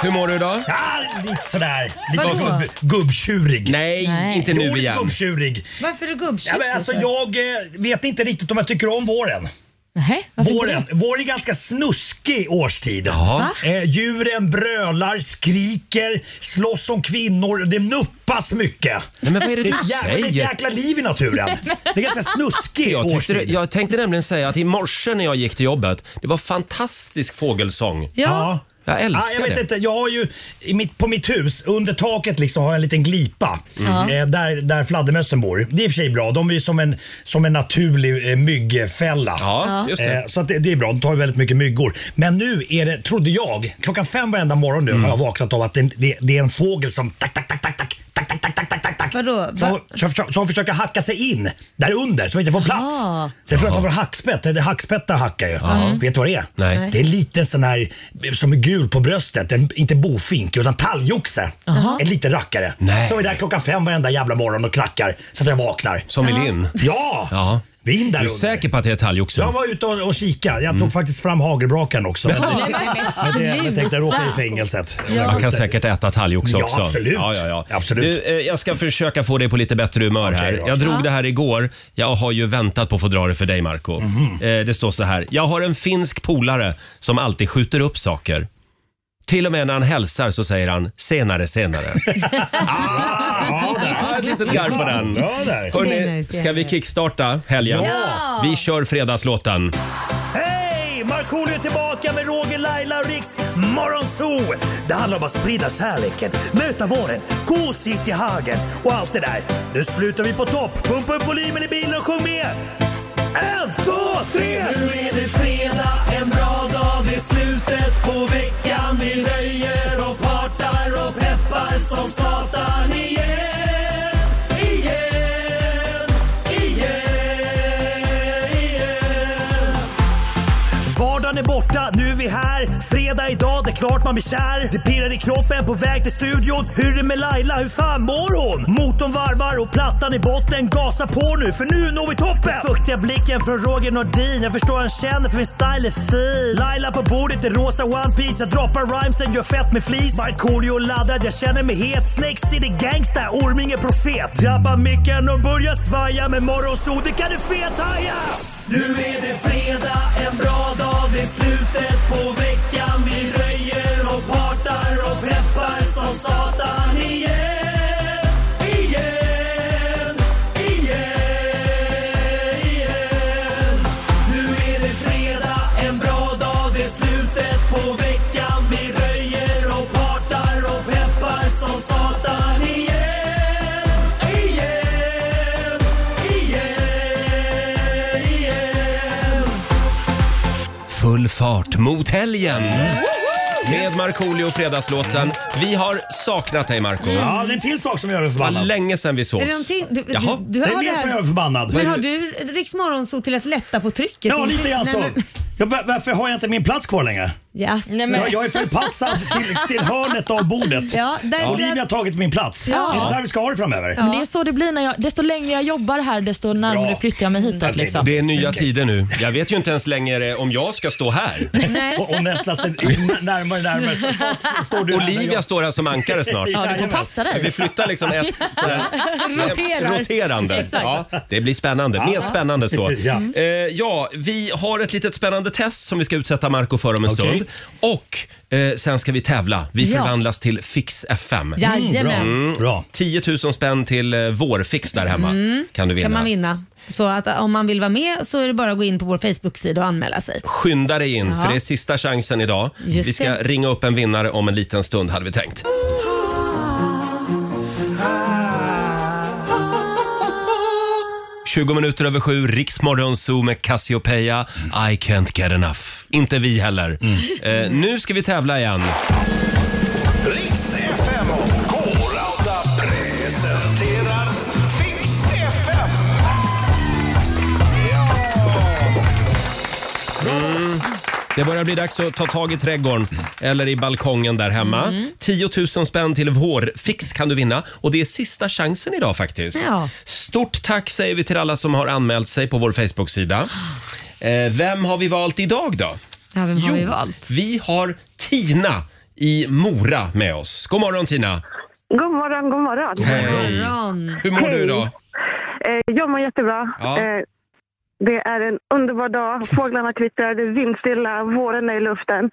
A: Hur mår du idag?
J: Ja, lite sådär. Lite
B: Vadå?
J: gubb, gubbtjurig.
A: Nej,
C: Nej.
A: inte nu
J: Jo, lite
A: igen.
J: Gubbtjurig.
B: Varför är du gubbtjurig?
J: Ja, men alltså, jag eh, vet inte riktigt om jag tycker om våren.
C: nej, varför inte
J: Våren,
C: det?
J: våren är ganska snuskig årstid.
A: Ja.
J: Eh, djuren brölar, skriker, slåss om kvinnor. Det nuppas mycket.
A: Nej, men vad är det
J: Det
A: du
J: är ett jäkla, det är ett
A: säger?
J: jäkla liv i naturen. Det är ganska snuskig
A: Jag, tyckte, det-
J: årstid.
A: jag tänkte nämligen säga att i morse när jag gick till jobbet, det var fantastisk fågelsång.
B: Ja,
J: Ja.
A: Jag älskar
J: jag vet
A: det.
J: Inte, jag har ju i mitt, på mitt hus, under taket liksom, har jag en liten glipa
A: Mm.
J: eh, där, där fladdermössen bor. Det är i och för sig bra. De är ju som en, som en naturlig eh, myggfälla.
A: Ja, just det.
J: Eh, så att det, det är bra. De tar ju väldigt mycket myggor. Men nu är det, trodde jag, klockan fem varenda morgon nu
A: Mm.
J: har jag vaknat av att det, det, det är en fågel som tack, tack, tack, tack, tack, tack, tack, tack, tack, tack, tack, tack.
B: Vadå?
J: Så hon, så, så hon försöker hacka sig in där under så hon inte får plats.
B: Aha.
J: Så jag tror att hon får hackspett. Det- Hackspettar hackar ju.
B: Ja. Mm.
J: Vet du vad det är?
B: Nej.
J: Det är en liten sån här eh, som är gul på bröstet. En, inte bofink utan talgoxe.
B: Jaha.
J: En liten rackare.
A: Nej.
J: Som är där klockan fem varenda jävla morgon och klackar så att jag vaknar.
A: Som vill in?
J: Ja!
A: Ja.
J: Vi är in där
A: Du är
J: under.
A: säker på att det är talgoxe?
J: Jag var ute och, och kikade. Jag tog
A: Mm.
J: faktiskt fram hagelbrakan också.
A: Ja,
J: Men-
A: nej, men
J: men det, jag tänkte jag råkade i
A: sluta.
J: fängelset.
A: Man kan säkert äta talgoxe
J: Ja,
A: också.
J: absolut.
A: Ja, ja, ja. Du, eh, jag ska försöka få dig på lite bättre humör här.
J: då.
A: Jag drog
J: Ja.
A: det här igår. Jag har ju väntat på att få dra det för dig, Marco.
J: Mhm.
A: eh, det står så här. Jag har en finsk polare som alltid skjuter upp saker. Till och med när han hälsar så säger han senare, senare. Ja, ett litet garv på den.
J: Ja, där.
A: Hörrni, ska vi kickstarta helgen?
J: Ja!
A: Vi kör fredagslåten.
J: Hej! Markoolio är tillbaka med Roger, Laila och Riks Morgonzoo! Det handlar om att sprida kärleken, möta våren, gosigt i hagen och allt det där. Nu slutar vi på topp! Pumpa upp volymen i bilen och sjung med! En, två, tre!
K: Nu är det fredag, en bra dag, det är slutet på veckan. Vi röjer och partar och peppar som satan igen. Igen, igen, igen.
J: Vardagen är borta, nu är vi här. Fredag idag, det är klart man blir kär. Det pirrar i kroppen på väg till studion. Hur är det med Laila, hur fan mår hon? Motorn varvar och plattan i botten. Gasa på nu, för nu når vi toppen! Den fuktiga blicken från Roger Nordin. Jag förstår han känner för min style är fin. Laila på bordet i rosa One Piece Jag droppar rhymesen, gör fett med flis. Markoolio laddad, jag känner mig het. Snake City Gangsta, Orminge Profet. Drabbar micken och börjar svaja. Med morgonsol, det kan du fethaja!
K: Nu är det fredag, en bra dag, det är slutet på veckan. Vi röjer och partar och peppar som satan igen. Igen, igen, igen. Nu är det fredag, en bra dag, det är slutet på veckan. Vi röjer och partar och peppar som satan igen. Igen, igen, igen.
A: Full fart mot helgen! Med Markoolio och Fredagslåten. Vi har saknat dig, Marco.
J: Ja, det är en till sak som gör mig
A: Det
J: förbannad.
A: var länge sedan vi sågs.
B: Är det någonting, du, du,
A: Jaha.
B: du, har här- Men har du Riksmorgon så till att lätta på trycket?
J: Ja, lite grann
B: Nej,
J: så.
B: men-
J: Jag, bara, varför har jag inte min plats kvar längre?
B: Jaså.
J: Jag, jag är förpassad till, till hörnet av bordet.
C: Ja, därför att-
J: Olivia har tagit min plats.
C: Ja.
J: Det är så här vi ska ha det framöver.
C: Men det är så det blir. När jag, desto längre jag jobbar här, desto närmare flyttar jag mig hitåt. Liksom.
A: Det är nya tider nu. Jag vet ju inte ens längre om jag ska stå här.
C: Nej.
J: Och, och nästlar sig närmare och närmare. Så snart står du
A: Olivia står här som ankare snart.
J: Ja, du får passa dig.
A: Vi flyttar liksom ett så här-
J: Roterar.
A: roterande.
J: Exakt.
A: Ja, det blir spännande. Mer
J: Ja.
A: spännande så.
J: Ja.
A: Eh, ja, vi har ett litet spännande test som vi ska utsätta Marco för om en
J: Okej.
A: stund. Och eh, sen ska vi tävla. Vi
B: Ja.
A: förvandlas till Fix FM.
B: Jajamän. Mm, bra.
J: Bra.
A: 10 000 spänn till eh, vårfix där hemma
B: Mm.
A: kan du vinna.
B: Kan man vinna. Så att om man vill vara med så är det bara att gå in på vår Facebook-sida och anmäla sig.
A: Skynda dig in,
B: Ja.
A: för det är sista chansen idag.
B: Just
A: vi ska
B: det.
A: ringa upp en vinnare om en liten stund, hade vi tänkt. ...20 minuter över sju, Riksmorgon Zoo med Cassiopeia. I can't get enough. Inte vi heller. Eh, nu ska vi tävla igen.
F: Riks FM och K-Rauta presenterar Fix FM.
A: Mm. Det börjar bli dags att ta tag i trädgården eller i balkongen där hemma. 10 000 spänn till vårfix kan du vinna och det är sista chansen idag faktiskt.
B: Ja.
A: Stort tack säger vi till alla som har anmält sig på vår Facebook-sida. Eh, vem har vi valt idag då?
B: Ja, vem har
A: jo,
B: vi valt?
A: vi har Tina i Mora med oss. God morgon Tina!
G: God morgon, god morgon.
A: Hej. Hur mår du idag?
G: Eh, jag mår jättebra.
A: Ja.
G: Eh, det är en underbar dag. Fåglarna kvittrar, det är vindstilla, våren är i luften.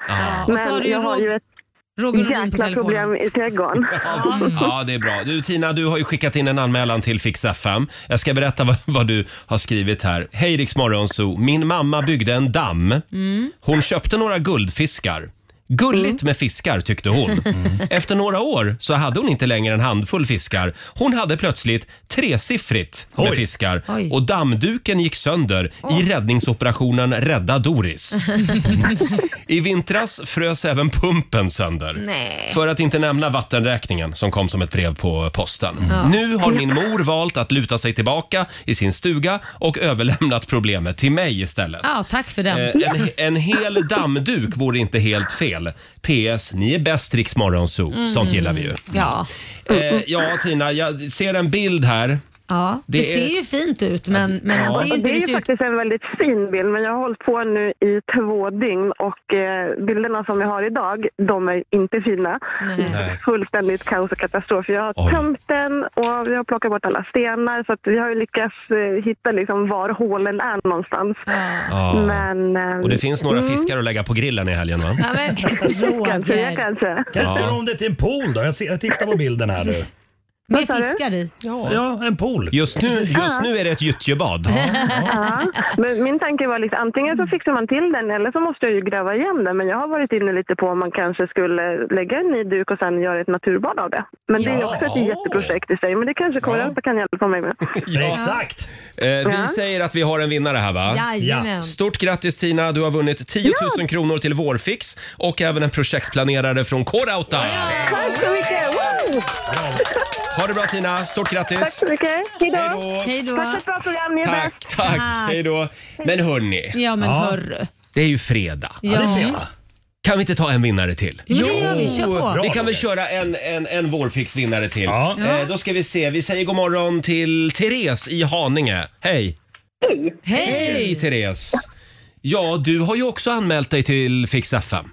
A: Och
G: Men
A: så har du ju
G: jag har
A: Rog-
G: ju ett
B: Roger Nordin på
G: jäkla
B: telefonen.
G: problem i trädgården.
A: Ja, det är bra. Du, Tina, du har ju skickat in en anmälan till Fix FM. Jag ska berätta vad, vad du har skrivit här. Hej Rix Morgonzoo. Min mamma byggde en damm. Hon köpte några guldfiskar. Gulligt med fiskar tyckte hon. Efter några år så hade hon inte längre en handfull fiskar. Hon hade plötsligt tresiffrigt med
L: Oj.
A: fiskar
L: Oj.
A: och dammduken gick sönder i räddningsoperationen Rädda Doris. I vintras frös även pumpen sönder.
L: Nej.
A: För att inte nämna vattenräkningen som kom som ett brev på posten.
L: Ja.
A: Nu har min mor valt att luta sig tillbaka i sin stuga och överlämnat problemet till mig istället.
B: Ja, tack för den.
A: Eh, en, en hel dammduk vore inte helt fel. PS, ni är bäst Rix Morgonzoo.
B: Mm.
A: Sånt gillar vi ju.
B: Ja,
A: Eh, ja, Tina, jag ser en bild här.
B: ja. det,
A: Det är-
B: ser ju fint ut men, men man ser ju inte
J: Och det
B: hur
J: är
B: det
J: ju
B: ser ut.
J: faktiskt en väldigt fin bild, men jag har hållit på nu i två dygn och eh, bilderna som jag har idag, de är inte fina. Det är
L: Nej.
J: Fullständigt kaos och katastrof. Jag har
L: Oj.
J: tömt den och jag har plockat bort alla stenar så att vi har ju lyckats eh, hitta liksom var hålen är någonstans.
A: Ja.
J: Men, eh,
A: Och det finns några
J: mm.
A: fiskar att lägga på grillen i helgen va?
J: kanske, jag kanske.
F: Kan du inte
A: Ja.
F: göra om det till en pool då? Jag, ser, jag tittar på bilden här nu.
B: Med fiskar i.
F: Ja, en pool.
A: Just nu, just
J: Ja.
A: nu är det ett gyttjebad.
J: Ja, men min tanke var liksom, antingen så fixar man till den eller så måste jag ju gräva igen den. Men jag har varit inne lite på om man kanske skulle lägga en ny duk och sen göra ett naturbad av det. Men det är
A: Ja.
J: också ett jätteprojekt i sig. Men det kanske Kora kan hjälpa mig med.
A: Exakt. Eh, vi
J: Ja.
A: säger att vi har en vinnare här va?
J: Jajamän.
A: Ja. Stort grattis Tina, du har vunnit 10 000 kronor till Vårfix och även en projektplanerare från K-Rauta.
J: Tack så mycket! Woo!
A: Ha det bra Tina, stort grattis.
J: Tack så mycket!
A: Hej
J: Hej
A: då.
J: då! Tack för ett bra program, ni är
A: Tack,
J: bäst!
A: tack. Hej då. Men hörni.
B: Ja, men hörru.
A: Det är ju fredag.
B: Ja, det är fredag.
A: Kan vi inte ta en vinnare till?
B: Jo, det gör vi. Kör på. Bra,
A: Vi kan väl
B: Roger.
A: köra en, en, en vårfixvinnare till.
B: Ja.
A: Eh, då ska vi se. Vi säger god morgon till Therese i Haninge. Hej!
M: Hej!
A: Hej Therese! Ja, du har ju också anmält dig till Fix FM.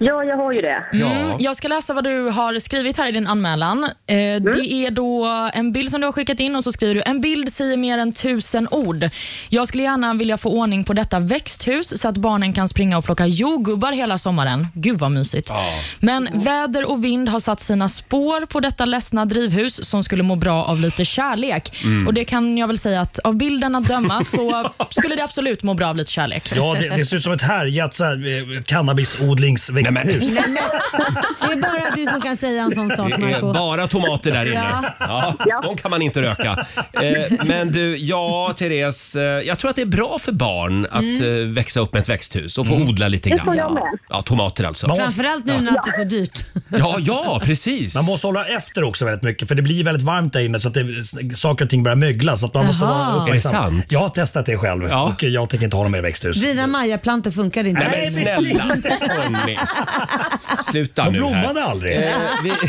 M: Ja, jag har ju det.
A: Ja.
C: Mm, Jag ska läsa vad du har skrivit här i din anmälan. Eh, Det är då en bild som du har skickat in och så skriver du en bild säger mer än tusen ord. Jag skulle gärna vilja få ordning på detta växthus så att barnen kan springa och plocka jordgubbar hela sommaren. Gud vad mysigt. Men väder och vind har satt sina spår på detta ledsna drivhus som skulle må bra av lite kärlek.
F: Mm.
C: Och det kan jag väl säga att av bilden att döma så skulle det absolut må bra av lite kärlek.
F: Ja, det, det ser ut som ett härjat så här, eh, cannabisodlingsväxthus.
B: Nej, men, det är bara du som kan säga en sån sak
A: Det är
B: Marco.
A: bara tomater där inne. Ja. De kan man inte röka. Eh, Men du, ja Therese, eh, jag tror att det är bra för barn att
B: Mm.
A: eh, växa upp med ett växthus och få
F: Mm.
A: odla lite
B: Det
A: grann.
B: tror jag med.
A: Ja, tomater alltså.
B: Framförallt nu när allt är så dyrt.
A: Ja, ja, precis.
F: Man måste hålla efter också väldigt mycket för det blir väldigt varmt där inne så att det, saker och ting börjar mögla. Så att man måste
B: Jaha.
F: vara uppmärksam.
A: Är det sant?
F: Jag har testat det själv och jag tänker inte ha dem i växthus.
B: Dina majaplantor funkar inte.
F: Nej, men snälla.
A: Hörni. Sluta
F: De
A: nu
F: blommade
A: här.
F: aldrig.
A: Eh, vi...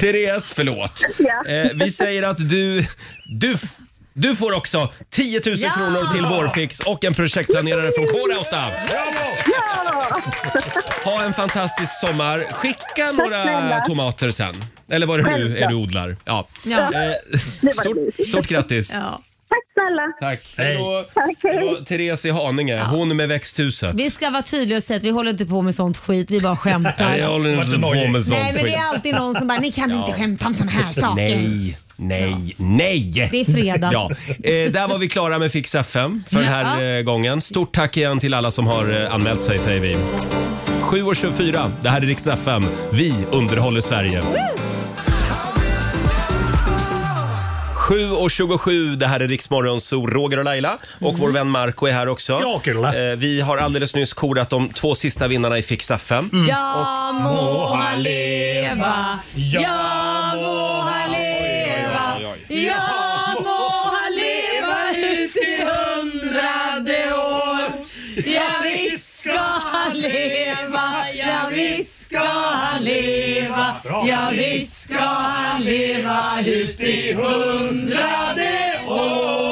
A: Therese, förlåt.
L: Ja.
A: Eh, vi säger att du, du, f- du får också 10 000
L: Ja!
A: kronor till Vårfix och en projektplanerare från K-Rauta. Ha en fantastisk sommar. Skicka några
L: snälla.
A: tomater sen. Eller vad det nu är
L: Självklart.
A: du odlar. Ja.
L: Ja.
A: Eh,
L: var
A: Stort,
L: mysigt.
A: stort grattis.
J: Tack snälla!
A: Tack. Hej då. Det var Therese i Haninge, hon med växthuset.
B: Vi ska vara tydliga och säga att vi håller inte på med sånt skit, vi bara skämtar.
A: Nej, jag håller inte på med sånt
B: Nej men det är
A: skit.
B: alltid någon som bara, ni kan
A: Ja.
B: inte skämta om såna här saker.
A: Nej, nej, nej!
B: Det är fredag.
A: Ja. Eh, där var vi klara med Fix FM för den här eh, gången. Stort tack igen till alla som har eh, anmält sig, säger vi. 7.24, det här är Rix FM. Vi underhåller Sverige. 7.27, det här är Riksmorgon, så Roger och Laila och
B: Mm.
A: vår vän Marco är här också.
F: Ja, kul.
A: Eh, Vi har alldeles nyss korat de två sista vinnarna i Fix FM.
B: Mm. Ja må han leva, ja må han leva, ja må han leva ut i hundrade år. Ja visst ska han leva, ja visst ska han leva, ja visst ska han leva ut i hundrade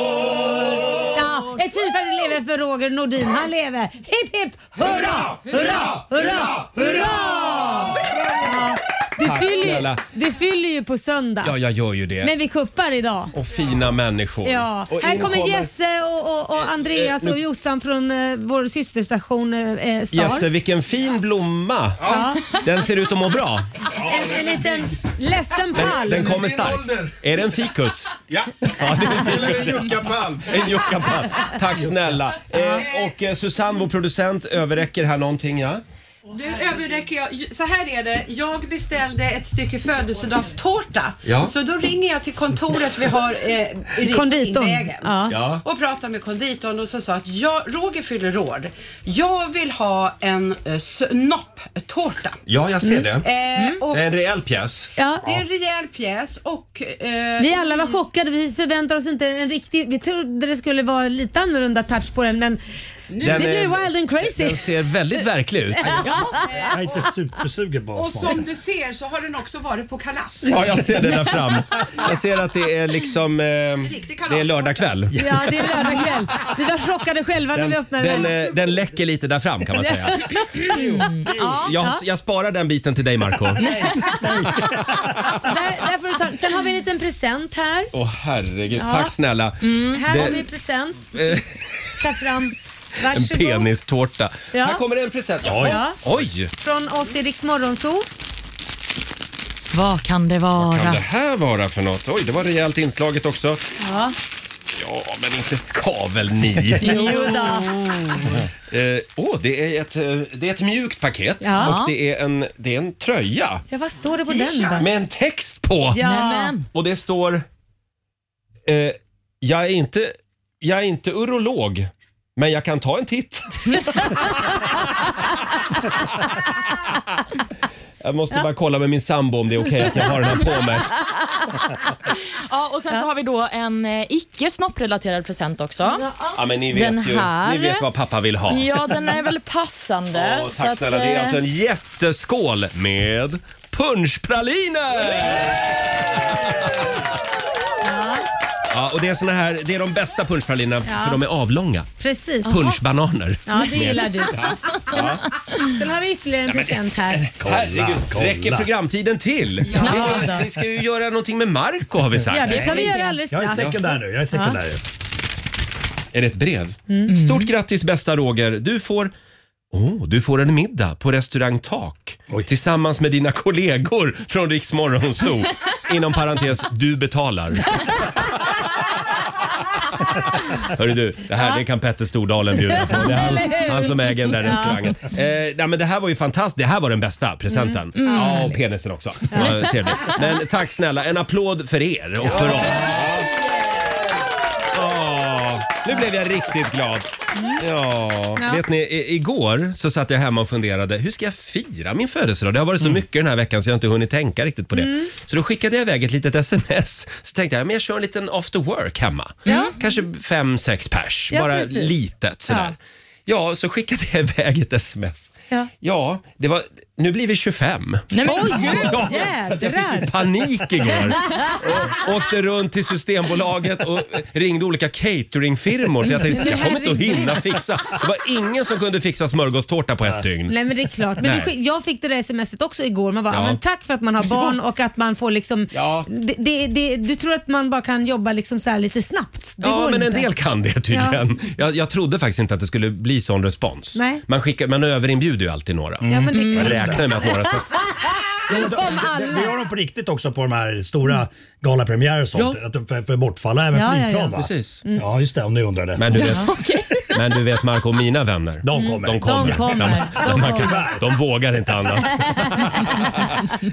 B: år. Ja, ett fyrfaldigt leve för Roger Nordin, han lever. Hipp hipp hurra, hurra, hurra, hurra! Ja, du,
A: Tack,
B: fyller, ju-
A: snälla.
B: du fyller ju på söndag.
A: Ja, jag gör ju det.
B: Men vi kuppar idag.
A: Och fina människor.
B: Ja,
A: Och
B: här
A: in Eh,
B: kommer Jesse och, och, och Andreas
A: nu-
B: och Jossan från eh, vår systerstation eh, Star.
A: Jesse, vilken fin blomma.
B: Ja.
A: Den ser ut att må bra.
B: En, en liten ledsen
A: Den,
B: pall.
A: den kommer starkt. Är det en fikus? Ja. det är en fikus.
N: Eller en juckapalm.
A: En juckapalm. Tack snälla. Eh, och eh, Susanne, vår producent, överräcker här någonting. Ja.
O: Du överdäcker jag. Så här är det. Jag beställde ett stycke födelsedagstårta.
A: Ja.
O: Så då ringer jag till kontoret vi har eh, i
B: Konditorn.
O: ringvägen.
A: Ja.
O: Och pratar med konditorn och så sa att jag, Roger fyller råd. Jag vill ha en eh, snopptårta.
A: Ja, jag ser det.
O: Eh,
D: Mm.
O: och,
A: Det är en rejäl pjäs.
O: Ja. Det är en rejäl pjäs och... Eh,
B: Vi alla var chockade, vi förväntade oss inte en riktig... Vi trodde det skulle vara lite annorlunda touch på den men det
A: Den
B: blir
A: är-
B: wild
A: Den
B: and crazy.
A: ser väldigt verklig ut.
O: Jag är inte
A: supersugen på
O: Och som du ser så har den också varit på kalas.
A: Ja, jag ser det där fram. Jag ser att det är liksom... Eh, det är lördagkväll.
B: Ja, det är lördagkväll. Vi var chockade själva när
A: Den,
B: vi öppnade
A: den,
B: den.
A: eh, den läcker lite där fram kan man säga.
B: Mm. Ja.
A: Jag, jag sparar den biten till dig Marco
B: Där, där får du ta. Sen har vi en liten present här.
A: Åh herregud,
B: Ja. Mm.
A: tack snälla.
B: Här har vi en
A: Det-
B: present.
A: eh,
B: Ta fram.
A: en
B: Varsågod.
A: penistårta.
B: Ja.
A: Här kommer det en present.
B: Ja.
A: Oj! Oj.
B: Från oss i Rix Morgonzoo.
C: Vad kan det vara?
A: Kan det här vara för något? Oj, det var rejält inslaget också.
B: Ja.
A: Ja, men inte ska väl ni?
B: Jodå.
A: Eh, Åh, det, är ett, eh, det är ett mjukt paket
B: Ja.
A: och det är en, det är en tröja.
B: Ja, vad står det på den då?
A: Med en text på!
B: Ja. Nämen.
A: Och det står... Eh, jag, är inte, jag är inte urolog, men jag kan ta en titt. jag måste bara kolla med min sambo om det är okej att jag har den här på mig.
C: Ja, och sen så har vi då en eh, icke snopprelaterad present också.
A: Ja, men ni vet
C: Den
A: ju
C: här.
A: ni vet vad pappa vill ha.
C: Ja, den är väl passande.
A: Åh,
C: så
A: tack
C: att,
A: snälla, det är
C: eh,
A: alltså en jätteskål med punschpraliner! Ja, och det är såna här, det är de bästa punschpralinerna
B: Ja.
A: för de är avlånga.
B: Precis.
A: Punschbananer.
B: Ja, det gillar du.
A: Ja.
B: Sen har vi ytterligare en present här.
A: Herregud,
K: kolla.
A: räcker programtiden till?
B: Ja.
A: Vi, har- vi ska ju göra någonting med Marco har vi sagt.
B: Ja, det ska vi göra alldeles Jag är strax. sekundär nu, jag är sekundär Ja.
A: Är det ett brev?
K: Mm.
A: Stort grattis bästa Roger. Du får Åh, du får en middag på restaurang Tak tillsammans med dina kollegor från Rix Morgonzoo. Inom parentes, du betalar. Hörru du, det här det kan Petter Stordalen bjuda på. Det är han,
K: Eller hur?
A: han som äger den där
K: Ja.
A: restaurangen. Eh, nej, men det här var ju fantastiskt. Det här var den bästa presenten.
K: Mm. Mm.
A: Ja, och penisen också.
K: Ja.
A: Ja, trevligt. Men tack snälla, en applåd för er och för oss. Ja, nu blev jag riktigt glad. Ja,
K: Mm. Ja.
A: vet ni, i- igår så satt jag hemma och funderade, hur ska jag fira min födelsedag? Det har varit så mycket den här veckan så jag har inte hunnit tänka riktigt på det.
K: Mm.
A: Så då skickade jag iväg ett litet sms. Så tänkte jag, men jag kör en liten after work hemma. Kanske fem, sex pers,
K: Ja,
A: bara
K: precis.
A: litet sådär. Ja. så skickade jag iväg ett sms.
B: Ja.
A: det var, nu blir vi 25.
K: Nej, men- Oj,
A: Ja, så att jag
K: jädrar.
A: fick panik igår. Och åkte runt till Systembolaget och ringde olika cateringfirmor för jag tänkte
B: Men
A: jag kommer inte att hinna
B: herregud.
A: fixa. Det var ingen som kunde fixa smörgåstårta på ett dygn.
B: Nej men det är klart. Men det,
A: Nej.
B: sk- jag fick det där smset också igår. Man bara,
A: Ja.
B: men tack för att man har barn och att man får liksom... Det, det, det, du tror att man bara kan jobba liksom så här lite snabbt. Det
A: ja,
B: går
A: men
B: inte.
A: en del kan det tydligen. Jag, jag trodde faktiskt inte att det skulle bli sån respons.
B: Nej.
A: Man, skickar, man överinbjuder ju alltid några.
B: Ja, men det är
A: Man
B: klart.
A: räknar med att några ska...
B: Nu kom
P: Det,
B: alla.
P: det gör de på riktigt också på de här
A: Mm.
P: stora galapremiärer och sånt. Att de för, för bortfalla även
B: Ja, ja, ja.
P: flygplan va?
A: Precis.
P: Ja just det, om ni undrade.
A: Men du vet, men du vet Marco, mina vänner. De
P: kommer.
A: De kommer.
P: De kommer.
A: De,
P: De
A: man kan-
P: kommer.
A: de vågar inte annat.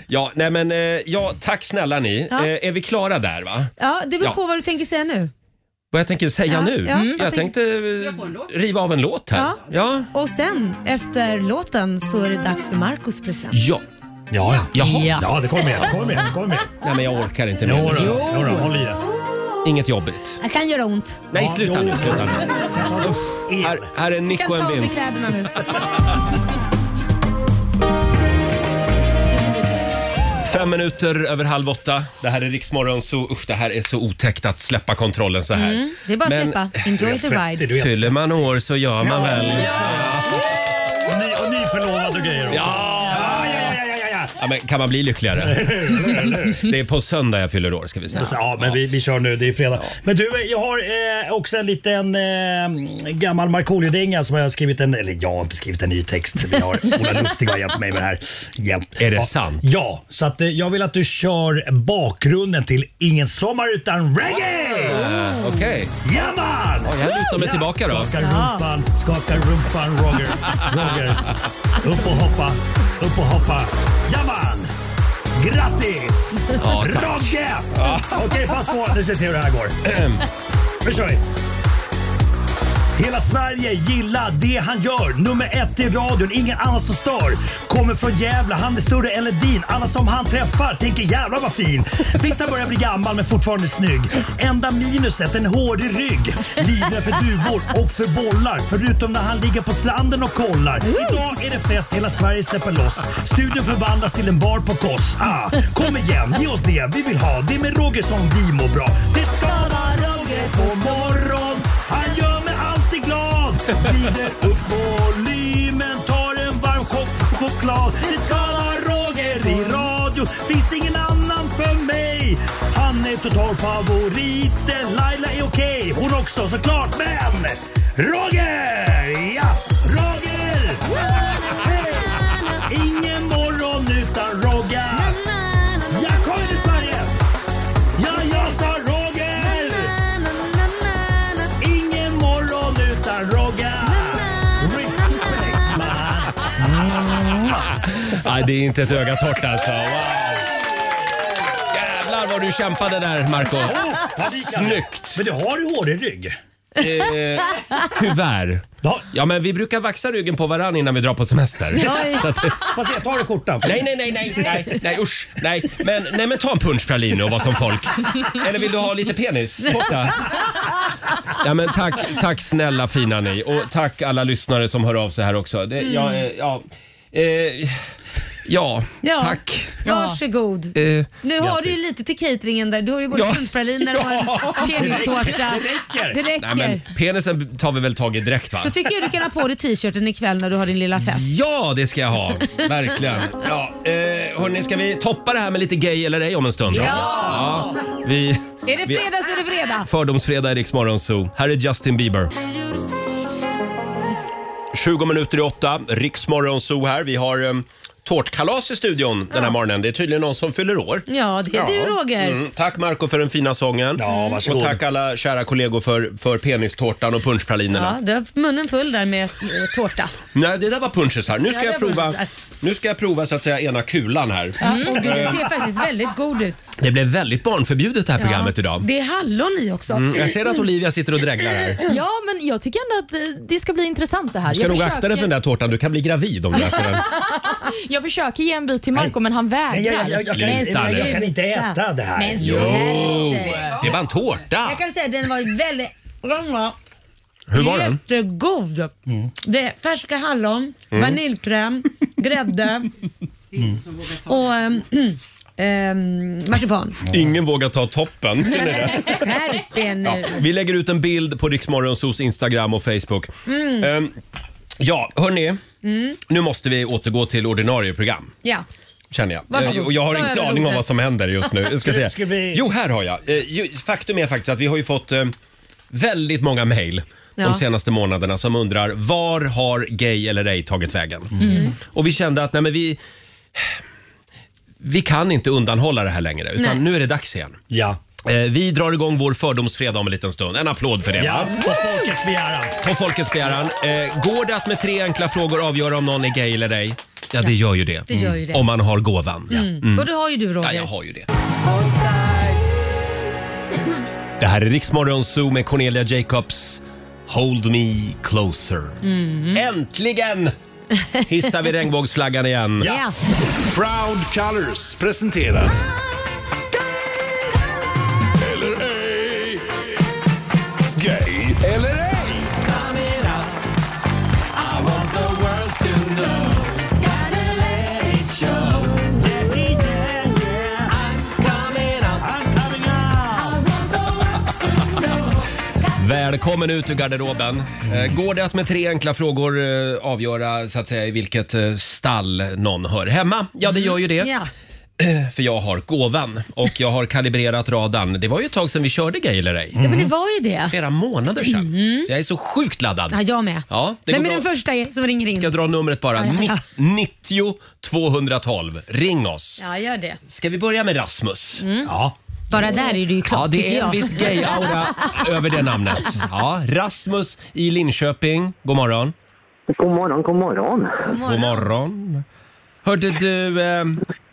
A: ja, nej men, eh, ja, tack snälla ni.
B: Ja.
A: Eh, Är vi klara där va?
B: Ja, det beror
A: Ja.
B: på vad du tänker säga nu.
A: Vad jag tänker säga
B: Ja,
A: nu?
B: ja, Mm.
A: jag
B: jag
A: tänkte eh, riva av en låt här.
B: Ja.
A: Ja.
B: Och sen efter låten så är det dags för Marcos present.
A: Ja.
P: Ja,
A: Jaha.
P: Yes. Ja, det kommer med, det kommer med, det kommer med.
A: Nej, men jag orkar inte mer.
P: Jo då, jo då, håll i det.
A: Inget jobbigt.
B: Det kan göra ont.
A: Nej, sluta nu. Sluta nu. Usch. Här, här är
B: Jag
A: Nico
B: kan ta
A: and
B: av mig
A: Vince.
B: kläderna nu.
A: Fem minuter över halv åtta. Det här är Riksmorgon, så usch, det här är så otäckt att släppa kontrollen så här.
B: Mm, det är bara att släppa. Enjoy the ride.
A: Fyller man år så gör man väl.
P: Och ny, och nyförlovad och grejer också.
A: Ja!
P: ja, ja, ja, ja.
A: Ja, men kan man bli lyckligare? det är på söndag jag fyller år ska vi säga.
P: Ja, men vi, vi kör nu. Det är fredag. Men du, jag har eh, också en liten eh, gammal Markoolio-dänga som jag har skrivit en, eller jag har inte skrivit en ny text. Men jag har, Ola Lustig har hjälpt mig med det här. Hjälpt.
A: Är det
P: ja.
A: sant?
P: Ja, så att, eh, jag vill att du kör bakgrunden till Ingen sommar utan reggae!
A: Eh, Okej.
P: Jajamän!
A: jag lutar mig tillbaka då.
J: Skaka rumpan, skaka rumpan Roger. Roger. Upp och hoppa, upp och hoppa. Jamman! Grattis!
Q: Ja, tack.
J: Roger!
Q: Ja.
J: Okej, pass på. Nu ska vi se hur det här går. Eh, Nu kör vi. Hela Sverige gillar det han gör. Nummer ett i radion, ingen annan som stör. Kommer från Gävle, han är större än Ledin. Alla som han träffar tänker jävlar vad fin. Vissa börjar bli gammal men fortfarande snygg. Enda minuset, en hårig rygg. Livrädd för duvor och för bollar. Förutom när han ligger på stranden och kollar. Idag är det fest, hela Sverige släpper loss. Studion förvandlas till en bar på Kos. Ah, kom igen, ge oss det vi vill ha. Det är med Roger som vi mår bra. Det ska vara Roger på morgon. Han gör mig alltid glad. Vrider upp volymen, tar en varm chock choklad. Det ska vara Roger i radio, finns ingen annan för mig. Han är total favoriten, Laila är okej. Hon också såklart, men Roger! Ja, Roger! Hej! Ingen morgon utan Roger. Ja, kom igen nu Sverige! Ja, jag sa Roger! Ingen morgon utan Roger! Respect, man.
A: Nej, det är inte ett öga torrt alltså. Wow. Jävlar vad du kämpade där Marco Snyggt!
J: Men du har ju hårig rygg.
A: Eh, tyvärr. Ja, men vi brukar vaxa ryggen på varandra innan vi drar på semester.
J: Ja.
A: Så att-
J: Fast jag tar det skjortan.
A: Nej, nej, nej, nej, nej, nej, usch, nej. Men, nej, men ta en punschpralin och var som folk. Eller vill du ha lite penis? Borta. Ja, men tack, tack snälla fina ni och tack alla lyssnare som hör av sig här också. Det,
B: Mm.
A: ja, eh, ja, eh, ja,
B: Ja.
A: tack.
B: Varsågod.
A: Eh,
B: Nu har du
A: grattis.
B: ju lite till cateringen där. Du har ju både
A: Ja.
B: punschpraliner och en penistårta.
J: Det räcker.
B: Det räcker.
A: Nej, men penisen tar vi väl tag i direkt va?
B: Så tycker jag du kan ha på dig t-shirten ikväll när du har din lilla fest.
A: Ja, det ska jag ha. Verkligen. Ja, eh, hörni, ska vi toppa det här med lite gay eller ej om en stund?
B: Ja!
A: vi,
B: Är det
A: vi-
B: fredag så är det fredag.
A: Fördomsfredag i Rix Morgon Zoo. Här är Justin Bieber. 20 minuter i åtta, Rix Morgon Zoo här. Vi har um, tårtkalas i studion den här morgonen. Det är tydligen någon som fyller år.
B: Ja, det är du Roger.
A: Mm, tack Marco för den fina sången. Ja,
J: varsågod.
A: Och tack alla kära kollegor för, för penistårtan och punschpralinerna.
B: Ja, du har munnen full där med eh, tårta.
A: Nej, det där var punches här. Nu ska,
B: Ja,
A: jag
B: det var
A: prova,
B: punches
A: nu ska jag prova så att säga ena kulan här.
B: Ja, och du
A: Eh,
B: ser faktiskt väldigt god ut.
A: Det blev väldigt barnförbjudet det här
B: Ja.
A: programmet idag.
B: Det är hallon i också.
A: Mm, jag ser att Olivia sitter och dreglar här.
C: Ja, men jag tycker ändå att eh, det ska bli intressant det här.
A: Du ska
C: jag
A: nog akta dig för den där tårtan, du kan bli gravid om du äter den.
C: jag försöker ge en bit till Marco men han vägrar.
J: Nej, jag, jag, jag, jag, kan,
A: Sluta
J: jag, jag kan
A: nu.
J: inte äta det här.
B: Men
A: Jo,
B: helvete.
A: Oh. det var en tårta.
B: Jag kan säga att den var väldigt... Den var
A: Hur var den?
B: Jättegod. Det är färska hallon,
A: Mm.
B: vaniljkräm, grädde och ehm, ehm, marsipan.
A: Ingen vågar ta toppen, ser ni det?
B: Skärp er
A: Ja,
B: nu.
A: vi lägger ut en bild på Riksmorgonsos Instagram och Facebook.
B: Mm.
A: Ehm, ja, hörni.
B: Mm.
A: Nu måste vi återgå till ordinarie program.
B: Ja.
A: Känner jag.
B: Varsågod.
A: Eh, Och jag har
B: Ta
A: ingen
B: över
A: aning om
B: ordet.
A: vad som händer just nu. Jag ska
J: Ska-
A: säga.
J: ska vi-
A: Jo, här har jag. Eh, ju- Faktum är faktiskt att vi har ju fått eh, väldigt många mejl
B: Ja.
A: de senaste månaderna som undrar var har gay eller ej tagit vägen?
Q: Mm.
A: Och vi kände att nej, men vi, vi kan inte undanhålla det här längre utan
Q: Nej.
A: nu är det dags igen.
J: Ja.
A: Eh, Vi drar igång vår fördomsfredag om en liten stund. En applåd för det.
J: Ja,
A: va?
J: på folkets begäran.
A: På folkets begäran. Eh, går det att med tre enkla frågor avgöra om någon är gay eller ej? Ja, det gör ju det.
B: Det gör ju det.
A: Om man har gåvan.
B: Mm.
A: Mm.
B: Och det har ju du Roger.
A: Ja, jag har ju det. Det här är Riksmorgon Zoo med Cornelia Jacobs. Hold me closer.
B: Mm.
A: Äntligen hissar vi regnbågsflaggan igen.
B: Ja.
F: Proud Colors presenterar... Eller ej. Gay eller ej.
A: Välkommen ut ur garderoben.
B: Mm.
A: Eh, Går det att med tre enkla frågor eh, avgöra så att säga, i vilket eh, stall någon hör hemma? Ja, det gör ju det.
B: Mm, Ja.
A: Eh, För jag har gåvan och jag har kalibrerat radarn. Det var ju ett tag sedan vi körde Gay eller ej.
B: Ja, men det var ju det.
A: Flera månader sedan.
B: Mm.
A: Så jag är så sjukt laddad.
B: Ja, jag med.
A: Ja, det går
B: Vem är
A: bra.
B: den första som ringer in?
A: Ska jag dra numret bara?
B: Ja, ja, ja.
A: Ni- 90 212. Ring oss.
B: Ja, gör det.
A: Ska vi börja med Rasmus?
B: Mm.
A: Ja.
B: Bara där är det ju klart
A: Ja, det
B: tycker
A: är en
B: jag.
A: viss gay-aura över det namnet. Ja, Rasmus i Linköping, god morgon. God morgon, god morgon. God morgon. Hörde du, eh,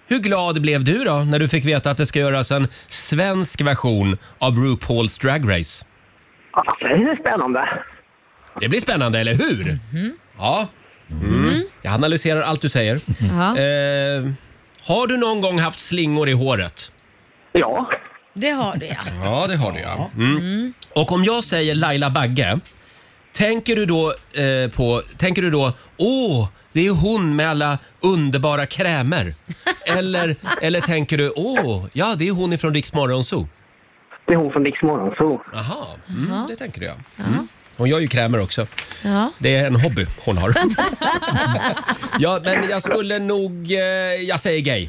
A: hur glad blev du då när du fick veta att det ska göras en svensk version av RuPaul's Drag Race?
R: Ja, det är spännande.
A: Det blir spännande, eller hur? Ja. Mm. Jag analyserar allt du säger.
B: Ja.
A: Eh, har du någon gång haft slingor i håret? Ja.
B: Det har du ja.
A: Ja, det har du ja. Mm. Och om jag säger Laila Bagge, tänker du då eh, på, tänker du då, åh, det är hon med alla underbara krämer? Eller, eller tänker du, åh, ja det är hon ifrån Rix Morgonzoo? Det är hon från Rix Morgonzoo. Jaha, mm, det tänker du ja. Mm. Hon gör ju krämer också.
B: Ja.
A: Det är en hobby hon har. ja, men jag skulle nog... Eh, jag säger gay.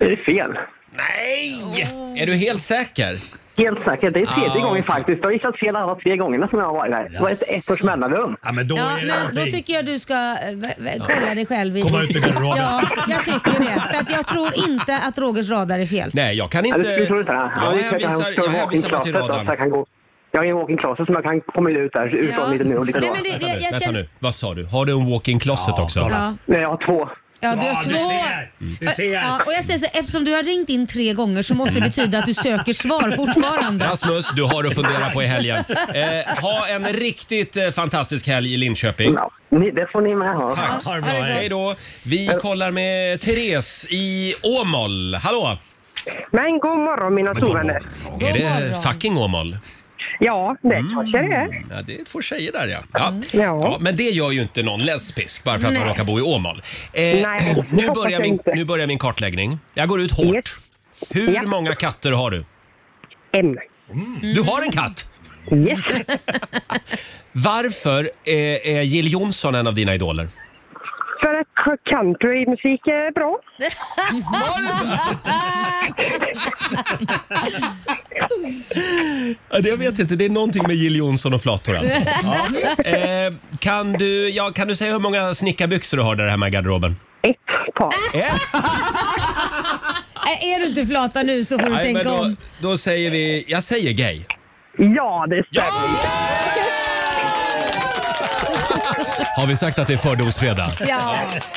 A: Är det fel? Nej! Är du helt säker?
R: Helt säkert. Det är tredje
A: Ah,
R: gången
A: okej.
R: faktiskt. Jag har gissat fel alla tre gångerna som jag har varit här. Det var ett, ett års mellanrum.
P: Ja, men då
B: Ja, men då tycker jag du ska eh, v- v- kolla dig själv i
R: Komma ut ur garderoben.
B: Ja, jag tycker det. För att jag tror inte att Rogers radar är fel.
A: Nej, jag kan
R: Ja,
A: inte...
R: det skulle jag inte.
A: jag
R: Ja, det är klart jag
A: hänvisar,
R: har
A: jag
R: en
A: hänvisar bara till
R: walking-closet,
A: radarn.
R: så
J: alltså.
R: jag kan gå- Jag har en walking closet som jag kan komma ut där, ut
B: Ja.
R: ja. lite nu och lite
B: Nej,
R: då.
B: men det- Vänta det- nu, jag
A: Vänta
B: känner-
A: nu, vad sa du? Har du en walk-in closet också?
B: Ja.
R: Nej, jag har två.
B: Ja, du har
R: Ja, du
B: två.
R: ser.
P: Du ser.
B: Ja, och jag säger så, eftersom du har ringt in tre gånger så måste det betyda att du söker svar fortfarande.
A: Rasmus, du har att fundera på i helgen. Eh, ha en riktigt eh, fantastisk helg i Linköping.
R: Ni, det får ni med ha.
A: Tack. Ha det bra. Hej då. Vi kollar med Therese i Åmål. Hallå!
S: Men god morgon mina
A: Men god
S: storvänner.
A: Är det fucking Åmål?
S: Ja, det
A: Mm.
S: kanske det är.
A: Ja, det är två tjejer där ja. Ja.
S: Mm. Ja.
A: ja. Men det gör ju inte någon lesbisk bara för att man
S: Nej.
A: råkar bo i Åmål. Eh,
S: Nej, det
A: nu,
S: hoppas
A: börjar
S: jag
A: min,
S: inte.
A: nu börjar min kartläggning. Jag går ut hårt. Hur
S: Ja.
A: många katter har du? Mm.
S: En.
A: Du har en katt?
S: Yes.
A: Varför är, är Jill Johnson en av dina idoler?
S: För att countrymusik är bra.
A: Ja, det jag vet inte, det är någonting med Jill Johnson och flator alltså. Ja. Eh, kan, du, ja, kan du säga hur många snickarbyxor du har där hemma i garderoben?
S: Ett par.
B: Äh, Är du inte flata nu så får du
A: men
B: tänka
A: då,
B: om.
A: då säger vi, jag säger gay.
S: Ja, det stämmer.
A: Har vi sagt att det är fördomsfredag?
B: Ja,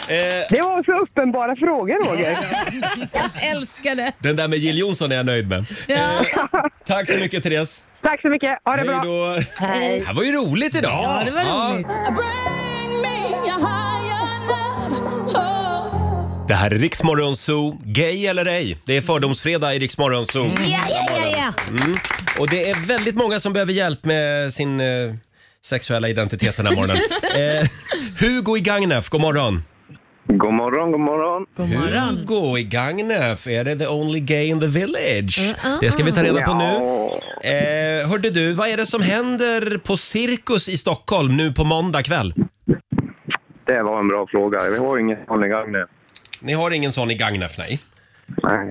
A: Eh,
S: Det var så uppenbara frågor Roger.
B: jag älskar det.
A: Den där med Jill Johnson är jag nöjd med. Eh, tack så mycket Therese.
S: Tack så mycket. Ha det
A: Hej
S: bra.
A: då.
S: Hej.
A: Det här var ju roligt idag.
S: Ja, det var roligt.
A: Det här är Riksmorgon Zoo. Gay eller ej? Det är fördomsfredag i Riksmorgon Zoo.
B: Ja, ja, ja, ja.
A: Mm. Och det är väldigt många som behöver hjälp med sin eh, sexuella identitet den här morgonen. eh, Hugo i Gagnef, god morgon.
T: God morgon, god morgon.
A: Hugo i Gagnef, är det the only gay in the village?
B: Mm,
T: uh,
A: Det ska vi ta reda på
T: uh.
A: nu. Eh, hörde du, vad är det som händer på Cirkus i Stockholm nu på måndag kväll?
T: Det var en bra fråga. Vi har ju ingen vanlig gang nu.
A: Ni har ingen sån i Gagnef, nej?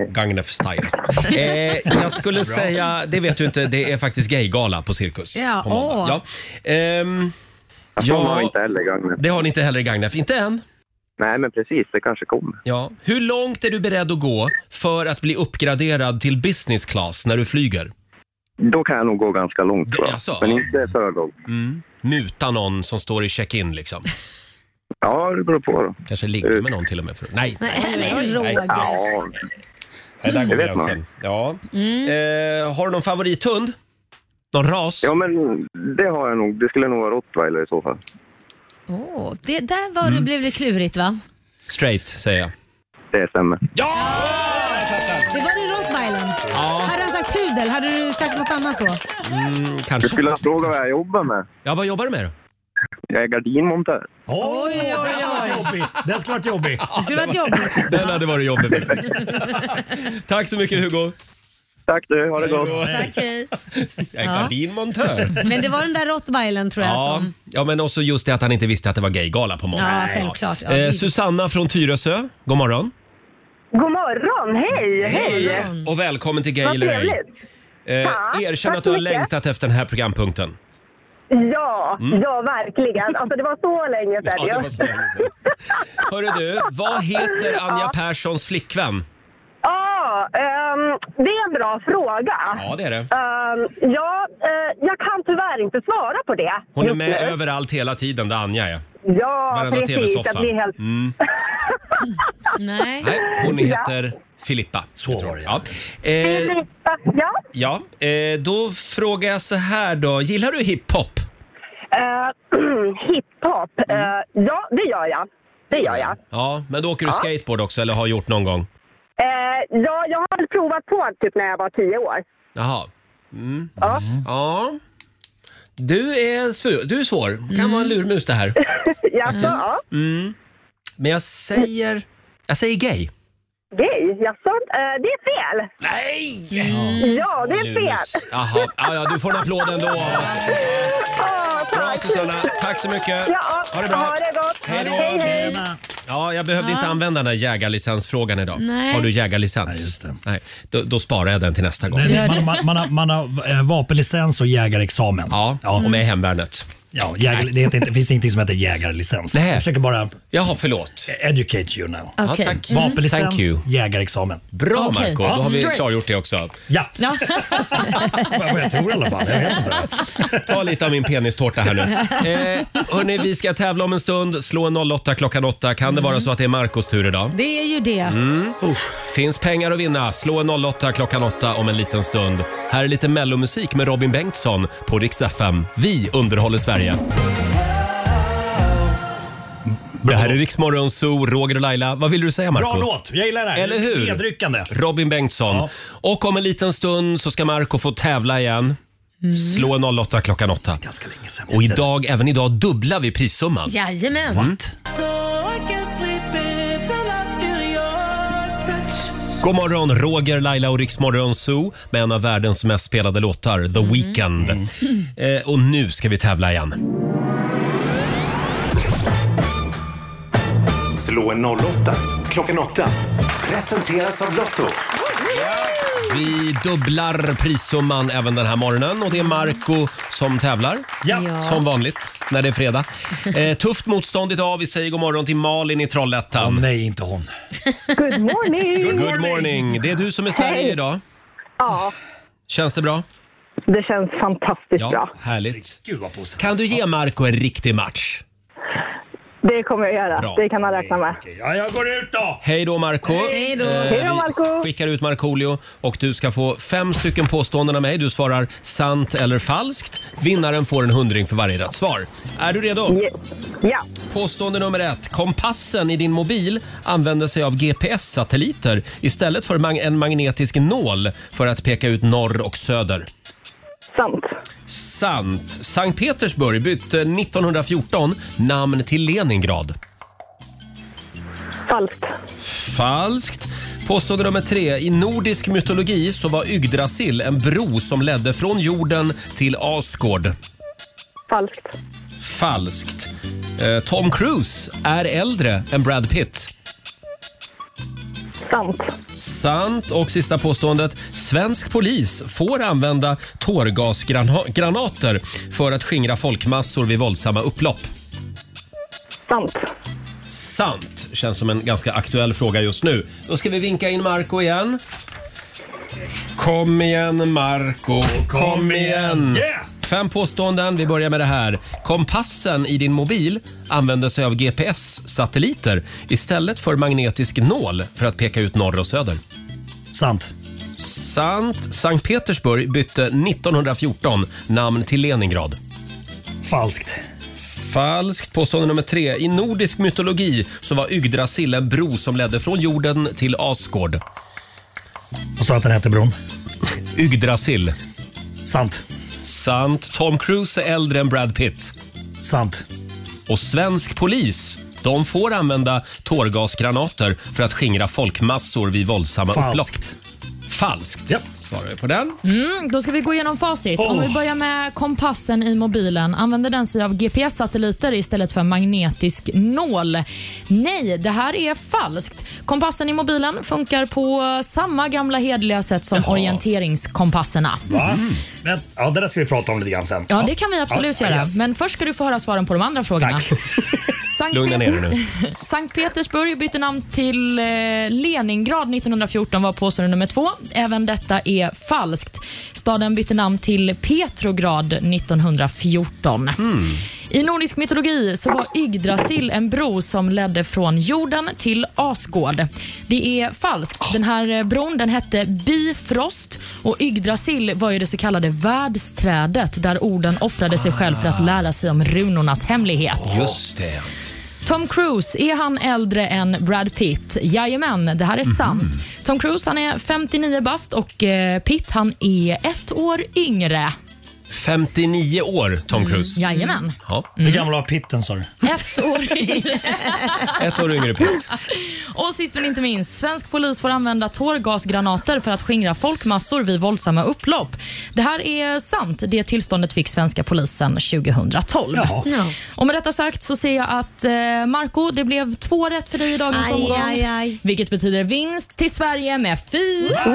A: Gagnef style. Eh, jag skulle säga, det vet du inte, det är faktiskt gaygala på Cirkus.
B: Ja,
A: på måndag.
B: åh.
A: ja. Ehm,
T: Sån har vi inte heller i Gagnef.
A: Det har ni inte heller i Gagnef. Inte än?
T: Nej, men precis. Det kanske kommer.
A: Ja. Hur långt är du beredd att gå för att bli uppgraderad till business class när du flyger?
T: Då kan jag nog gå ganska långt, tror jag.
A: Jaså?
T: Men inte för långt.
A: Muta någon som står i check-in liksom.
T: Ja, det beror på. Då.
A: Kanske ligga med någon till och med. För... Nej.
B: Nej, men
A: Nej.
B: Roger.
T: Ja,
A: Nej, där går
T: Det vet
A: gränsen. Ja.
B: Mm.
A: Eh, har du någon favorithund? Någon ras?
T: ja, men det har jag nog. Det skulle nog vara rottweiler i så fall.
B: Åh, det där var det blev det klurigt va?
A: Straight, säger jag.
T: Det stämmer.
B: Det var det rottweilern.
A: Ja.
B: Hade han sagt pudel, hade du sagt något annat då?
A: Mm,
T: Du
A: kanske.
T: skulle ha frågat vad jag jobbar med.
A: Ja, vad jobbar du med då?
T: Jag är gardinmontör.
P: Oj, oj, oj. Den skulle varit jobbig.
B: Det skulle varit jobbigt.
A: Den hade varit jobbig. faktiskt. Tack så mycket Hugo.
T: Tack du, ha det gott.
B: Tack, hej.
A: Jag är
B: Ja.
A: gardinmontör.
B: Men det var den där rottweilern tror jag
A: Ja,
B: som...
A: ja, men också just det att han inte visste att det var gaygala på
B: Ja,
A: måndag.
B: självklart. Ja,
A: eh,
B: det-
A: Susanna från Tyresö, god morgon.
S: God morgon. Hej, hej.
A: Och välkommen till Gay
S: Vad
A: eller ej.
S: trevligt.
A: Eh,
S: Tack,
A: erkänn
S: tack
A: att du har
S: så mycket.
A: längtat efter den här programpunkten.
S: Ja,
A: Mm.
S: ja verkligen. Alltså det var så länge sedan.
A: Ja, det var så länge sedan. Hörru du, vad heter Anja Perssons flickvän?
S: Ah, Ja, ehm, det är en bra fråga.
A: Ja, det är det.
S: Ehm, ja, eh, jag kan tyvärr inte svara på det.
A: Hon är
S: just
A: med
S: nu.
A: överallt hela tiden där Anja är.
S: Ja,
A: Varenda
S: precis.
A: TV-soffa.
S: Jag blir helt...
A: Mm.
B: Nej.
A: Nej, hon
S: Ja.
A: heter Filippa. Så var det ja. Eh,
S: Filippa, ja.
A: ja. Eh, då frågar jag så här då. Gillar du hiphop?
S: Eh, hiphop.
A: Mm.
S: Eh, ja, det gör jag. Det gör jag.
A: Ja, men då åker du
S: Ja.
A: skateboard också eller har gjort någon gång?
S: Eh, ja, jag har väl provat på typ när jag var tio år.
A: Jaha. Mm. Ja. ja. Du är, svu- du är svår. kan vara en
S: Mm.
A: lurmus det här.
S: Jaså? Ja.
A: Mm. Men jag säger... Jag säger gay.
S: Gay? Jaså? Eh, det är fel.
A: Nej! Mm.
S: Ja, det är
A: Lurmus.
S: fel.
A: Jaha. Ja, ja, du får en applåd ändå.
S: Ja,
A: Bra
S: tack.
A: Susanna. Tack så mycket.
S: Ja,
A: Ha det bra.
S: Ha det gott.
A: Hej då.
S: Hej, hej.
A: Ja, jag behövde
S: Ja.
A: inte använda den där jägarlicensfrågan idag.
S: Nej.
A: Har du jägarlicens? Nej, Då, då sparar jag den till nästa gång.
P: Nej, nej, man, man, man, har, man har eh, vapenlicens och jägarexamen.
A: Ja, och med hemvärnet.
P: Ja, jägar, det, heter, inte- det finns ingenting som heter jägarlicens.
A: Nej.
P: Jag försöker bara
A: Jaha, förlåt.
P: educate you now.
A: Ja, Okej. tack. Mm.
P: Eh, Vapenlicens,
A: Thank you.
P: jägarexamen.
A: Bra Marco, då har vi klargjort det också.
P: Ja. jag tror i alla fall. Jag vet
A: Ta lite av min penistårta här nu. Eh, hörni, vi ska tävla om en stund. Slå en 08 klockan 8. Kan det vara så att det är Marcos tur idag?
B: Det är ju det.
A: Mm. Finns pengar att vinna. Slå en 08 klockan 8 om en liten stund. Här är lite mellomusik med Robin Bengtsson på Rix FM. Vi underhåller Sverige. Det här är Rix Morgon Zoo, Roger och Laila. Vad vill du säga Marco?
P: Bra låt, jag gillar den. här.
A: Eller hur?
P: Medryckande.
A: Robin Bengtsson. Och om en liten stund så ska Marco få tävla igen. Slå en 08 klockan 8. Ganska länge sedan. Och idag, även idag dubblar vi prissumman.
B: Jajamän.
A: Mm. God morgon, Roger, Laila och Riksmorgon Zoo med en av världens mest spelade låtar, The Weeknd. Eh, och nu ska vi tävla igen.
E: Slå en 08 klockan 8. Presenteras av Lotto.
A: Vi dubblar prissumman även den här morgonen och det är Marco som tävlar.
B: Ja.
A: Som vanligt när det är fredag. Eh, tufft motstånd idag. Vi säger god morgon till Malin i Trollhättan. nej, inte hon.
S: Good morning.
A: Good morning. Det är du som är Sverige
S: Hej.
A: idag.
S: Ja,
A: Känns det bra?
S: det känns fantastiskt
A: Ja,
S: bra.
A: härligt. Kan du ge Marco en riktig match?
S: Det kommer jag göra.
A: Bra.
S: Det kan han räkna med.
P: Ja, jag går ut då!
A: Hej då Marco
S: Hej då.
A: Eh,
S: Hej då,
A: vi
S: Marco.
A: skickar ut Markoolio och du ska få fem stycken påståenden av mig. Du svarar sant eller falskt. Vinnaren får en hundring för varje rätt svar. Är du redo?
S: Mm. Ja.
A: Påstående nummer ett. Kompassen i din mobil använder sig av GPS-satelliter istället för mag- en magnetisk nål för att peka ut norr och söder.
S: Sant.
A: Sant. Sankt Petersburg bytte 1914 namn till Leningrad.
S: Falskt.
A: Falskt. Påstående nummer tre. I nordisk mytologi så var Yggdrasil en bro som ledde från jorden till Asgård.
S: Falskt.
A: Falskt. Eh, Tom Cruise är äldre än Brad Pitt.
S: Sant.
A: Sant. Och sista påståendet. Svensk polis får använda tårgasgranater för att skingra folkmassor vid våldsamma upplopp.
S: Sant.
A: Sant. Känns som en ganska aktuell fråga just nu. Då ska vi vinka in Marco igen. Kom igen Marco, kom igen!
P: Yeah!
A: Fem påståenden, vi börjar med det här. Kompassen i din mobil använder sig av GPS-satelliter istället för magnetisk nål för att peka ut norr och söder.
P: Sant.
A: Sant. Sankt Petersburg bytte 1914 namn till Leningrad.
P: Falskt.
A: Falskt. Påstående nummer tre. I nordisk mytologi så var Yggdrasil en bro som ledde från jorden till Asgård.
P: Vad sa du att den hette bron?
A: Yggdrasil.
P: Sant.
A: Sant. Tom Cruise är äldre än Brad Pitt.
P: Sant.
A: Och svensk polis, de får använda tårgasgranater för att skingra folkmassor vid våldsamma
P: Falskt.
A: upplopp. Falskt. Svarar vi på den.
C: Mm, då ska vi gå igenom facit. Om
A: Oh.
C: vi börjar med kompassen i mobilen. Använder den sig av GPS-satelliter istället för magnetisk nål? Nej, det här är falskt. Kompassen i mobilen funkar på samma gamla hederliga sätt som orienteringskompasserna.
P: Va? Men, ja, det där ska vi prata om lite grann sen.
C: Ja, det kan vi absolut
P: Ja,
C: göra.
P: yes.
C: Men först ska du få höra svaren på de andra frågorna. Sankt
A: Lugna ner
C: Pet-
A: dig nu.
C: Sankt Petersburg bytte namn till eh, Leningrad 1914 var påstående nummer två. Även detta är falskt. Staden bytte namn till Petrograd 1914. I nordisk mytologi så var Yggdrasil en bro som ledde från jorden till Asgård. Det är falskt. Den här eh, bron den hette Bifrost och Yggdrasil var ju det så kallade världsträdet där orden offrade sig själv för att lära sig om runornas hemlighet.
A: Just det.
C: Tom Cruise, är han äldre än Brad Pitt? Jajamän, det här är sant. Tom Cruise han är 59 bast och eh, Pitt han är ett år yngre.
A: 59 år, Tom Cruise.
C: Mm, jajamän.
A: Ja.
P: Hur gammal var Pitten sa du?
C: Ett år yngre.
A: Ett år yngre Pitt.
C: Och sist men inte minst, svensk polis får använda tårgasgranater för att skingra folkmassor vid våldsamma upplopp. Det här är sant. Det tillståndet fick svenska polisen 2012.
K: Jaha. Ja.
C: Och med detta sagt så ser jag att eh, Marco, det blev två rätt för dig i dagens
K: Aj,
C: omgång.
K: aj,
C: Vilket betyder vinst till Sverige med fyra.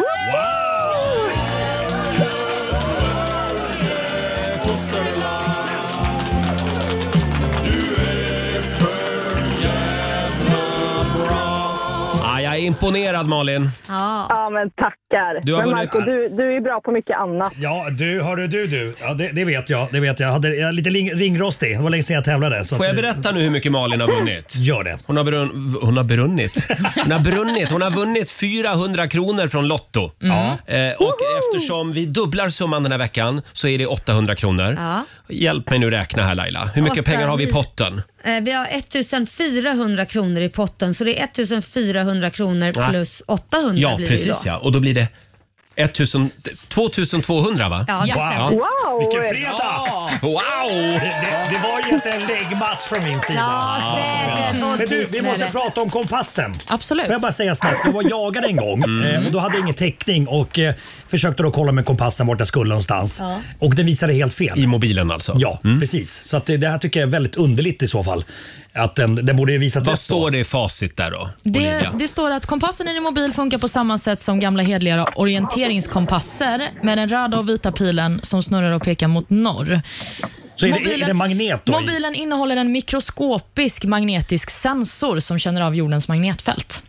A: Ah, jag är imponerad Malin.
B: Ja.
S: men tackar.
P: Du har
S: men
P: vunnit-
S: Marco, du, du är bra på mycket annat.
P: Ja, du, hörru du, du. Ja, det, det vet jag. Det vet jag. jag hade jag är lite ling, ringrostig. Det var länge sedan jag tävlade. Så
A: Får jag
P: att-
A: berätta nu hur mycket Malin har vunnit?
P: Gör det.
A: Hon har, brun, hon har brunnit. Hon har brunnit. Hon har vunnit 400 kronor från Lotto.
K: Ja.
A: Eh, och eftersom vi dubblar summan den här veckan så är det 800 kronor.
B: Ja.
A: Hjälp mig nu räkna här Laila. Hur mycket
B: Åtta,
A: pengar har vi i
B: nio.
A: potten?
B: Eh, Vi har 1400 kronor i potten så det är 1400 kronor
A: Ja.
B: plus 800
A: Ja,
B: blir det
A: precis
B: då.
A: ja. Och då blir det 1000, 2200 va?
B: Ja, just det.
P: Vilken fredag!
A: Wow!
P: Det, det, det var ju inte en läggmatch från min sida.
K: Ja, säkert.
P: Ja.
K: Och
P: Men du, vi
K: tystnare.
P: måste prata om kompassen.
C: Absolut.
P: Får jag bara säga snabbt, jag var jagad en gång eh, och då hade jag ingen täckning och eh, försökte då kolla med kompassen vart jag skulle någonstans.
K: Ja.
P: Och den visade helt fel.
A: I mobilen alltså?
P: Ja, precis. Så att det, det här tycker jag är väldigt underligt i så fall. Att den, den borde ju visat
A: Vad står det i facit där då?
C: Det,
A: Olivia?
C: det står att kompassen i din mobil funkar på samma sätt som gamla hederliga orienteringskompasser med den röda och vita pilen som snurrar och pekar mot norr.
P: Så är det- är det magnet då i?
C: Mobilen innehåller en mikroskopisk magnetisk sensor som känner av jordens magnetfält.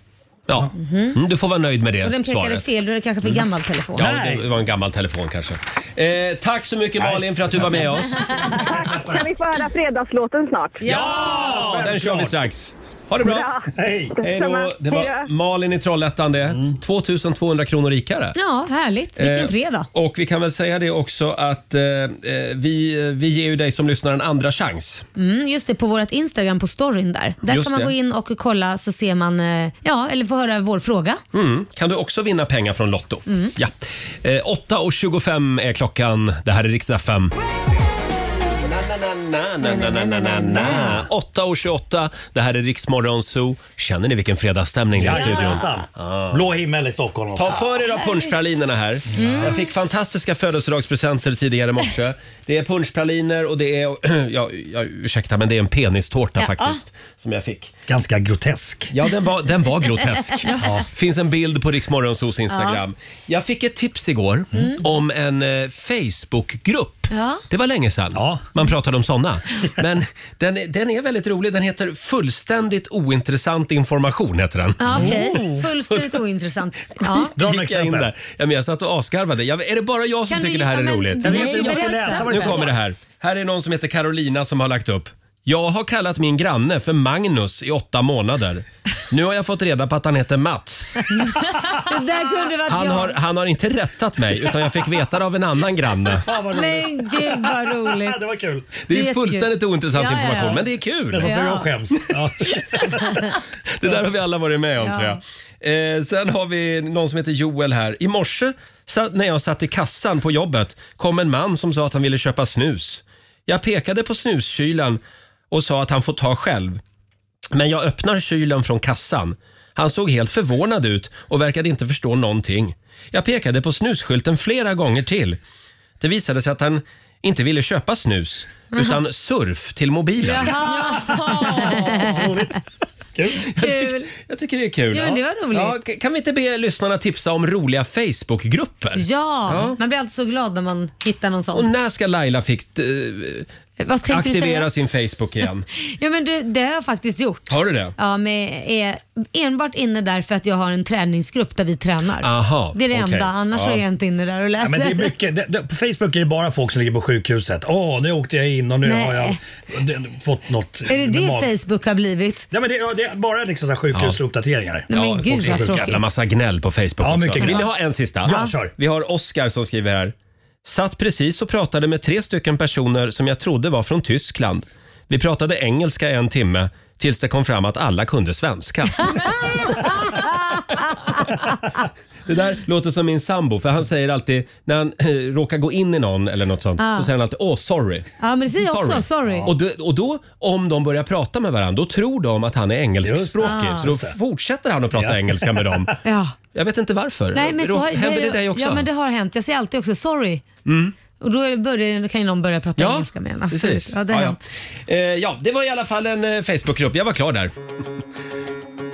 A: Ja, mm, du får vara nöjd med det
B: Mhm. Och den pekade
A: svaret.
B: fel, då är det kanske för gammal telefon.
A: Ja, det var en gammal telefon kanske. Eh, tack så mycket Malin för att du var med oss.
S: Kan vi få höra fredagslåten snart?
A: Ja, den kör vi strax. Ha det bra!
S: Bra. Hej.
A: Hej då! Det var Malin i Trollhättan det. 2200 kronor rikare.
B: Ja, härligt. Vilken
A: Eh,
B: fredag.
A: Och vi kan väl säga det också att eh, eh, vi, vi ger ju dig som lyssnar en andra chans.
B: Mm, just det, på vårt Instagram på storyn där. Där
A: Just
B: kan man
A: det.
B: gå in och kolla så ser man, eh, ja, eller få höra vår fråga.
A: Mm. Kan du också vinna pengar från Lotto?
B: Mm.
A: Ja. Eh, 8.25 är klockan. Det här är riksdag 5. 8.28, det här är Riksmorgon Zoo. Känner ni vilken fredagsstämning det är i studion? Ah.
P: Jajamensan. Blå himmel i Stockholm också.
A: Ta för er av punschpralinerna här.
P: Mm.
A: Jag fick fantastiska födelsedagspresenter tidigare i morse. Det är punschpraliner och det är, ja, ja, ursäkta men det är en penistårta
P: Ja. Ah.
A: faktiskt som jag fick.
P: Ganska grotesk.
A: Ja, den var, den var grotesk.
P: Ja.
A: ja. Finns en bild på Riksmorgonsos Instagram. Jag fick ett tips igår
P: Mm.
A: om en eh, Facebookgrupp.
B: Ja.
A: Det var länge sedan man pratade om sådana. Men den, är- den är väldigt rolig. Den heter Fullständigt ointressant information. Heter den.
B: Ja, Okej,
A: Oh.
B: fullständigt ointressant. Ja.
A: Dra några exempel. Där. Ja, men jag satt och asgarvade. Jag, är det bara jag som
B: Kan du
A: tycker
B: ge-
A: det här
B: ja,
A: är
B: men-
A: roligt?
B: Jag måste- jag måste läsa vad det
A: Nu
B: står.
A: kommer det här. Här är någon som heter Carolina som har lagt upp. Jag har kallat min granne för Magnus i åtta månader. Nu har jag fått reda på att han heter Mats.
B: det där kunde varit
A: Han
B: jag.
A: har, han har inte rättat mig utan jag fick veta det av en annan granne.
B: Men gud vad roligt.
P: det var kul.
A: Det är fullständigt ointressant
B: Ja, ja, ja.
A: information, men det är kul.
B: Nästan så jag Ja. skäms.
A: det där har vi alla varit med om
B: Ja.
A: tror jag. Eh, sen har vi någon som heter Joel här. I morse sa- när jag satt i kassan på jobbet kom en man som sa att han ville köpa snus. Jag pekade på snuskylen och sa att han får ta själv. Men jag öppnar kylen från kassan. Han såg helt förvånad ut och verkade inte förstå någonting. Jag pekade på snusskylten flera gånger till. Det visade sig att han inte ville köpa snus, utan surf till mobilen. Jag tycker, jag tycker det är kul.
B: Ja, men det var roligt.
A: Ja, k- kan vi inte be lyssnarna tipsa om roliga Facebookgrupper? Mm.
B: Ja, man blir alltid så glad när man hittar någon sån.
A: Och när ska Laila fick, eh,
B: Vad tänkte du
A: Aktivera
B: säga?
A: sin Facebook igen.
B: Ja, men det, det har jag faktiskt gjort.
A: Har du det?
B: Ja, men är enbart inne där för att jag har en träningsgrupp där vi tränar.
A: Ah,
P: Aha,
B: det är det
P: okej.
B: enda, annars
P: Ja.
B: är jag inte inne där och
P: Ja,
B: läser.
P: men det är mycket, det, det, på Facebook är det bara folk som ligger på sjukhuset. Åh, nu åkte jag in och nu
B: Nej.
P: har jag det, fått något
B: är det
P: med
B: det
P: mag-
B: Facebook har blivit?
P: Ja, men det, ja, det är bara liksom så här sjukhusuppdateringar.
B: Nej, men Ja, gud, folk som vad är sjuka. tråkigt.
A: Jävla massa gnäll på Facebook
P: Ja, mycket
A: också. Vill
P: gnäll.
A: ni ha en sista?
P: Ja, Ja. kör.
A: Vi har Oskar som skriver här. Satt precis och pratade med tre stycken personer som jag trodde var från Tyskland. Vi pratade engelska i en timme tills det kom fram att alla kunde svenska. Det där låter som min sambo för han säger alltid när han eh, råkar gå in i någon eller något sånt
B: Ah.
A: så säger han alltid åh sorry.
B: Ja, men det säger jag också, sorry.
A: Och, då, och då om de börjar prata med varandra då tror de att han är engelskspråkig
B: Just det.
A: så då
B: Just det. Ah.
A: fortsätter han att prata
P: Ja.
A: engelska med dem.
B: Ja.
A: Jag vet inte varför.
B: Nej, men så har,
A: Händer det
B: jag-
A: dig också?
B: Ja, men det har hänt. Jag säger alltid också sorry.
A: Mm.
B: Och då är det börjar, kan ju någon börja prata
A: Ja,
B: engelska med en. Absolut.
A: precis.
B: Ja, det har
A: ja,
B: hänt.
A: ja. Eh, ja, det var i alla fall en eh, Facebookgrupp. Jag var klar där.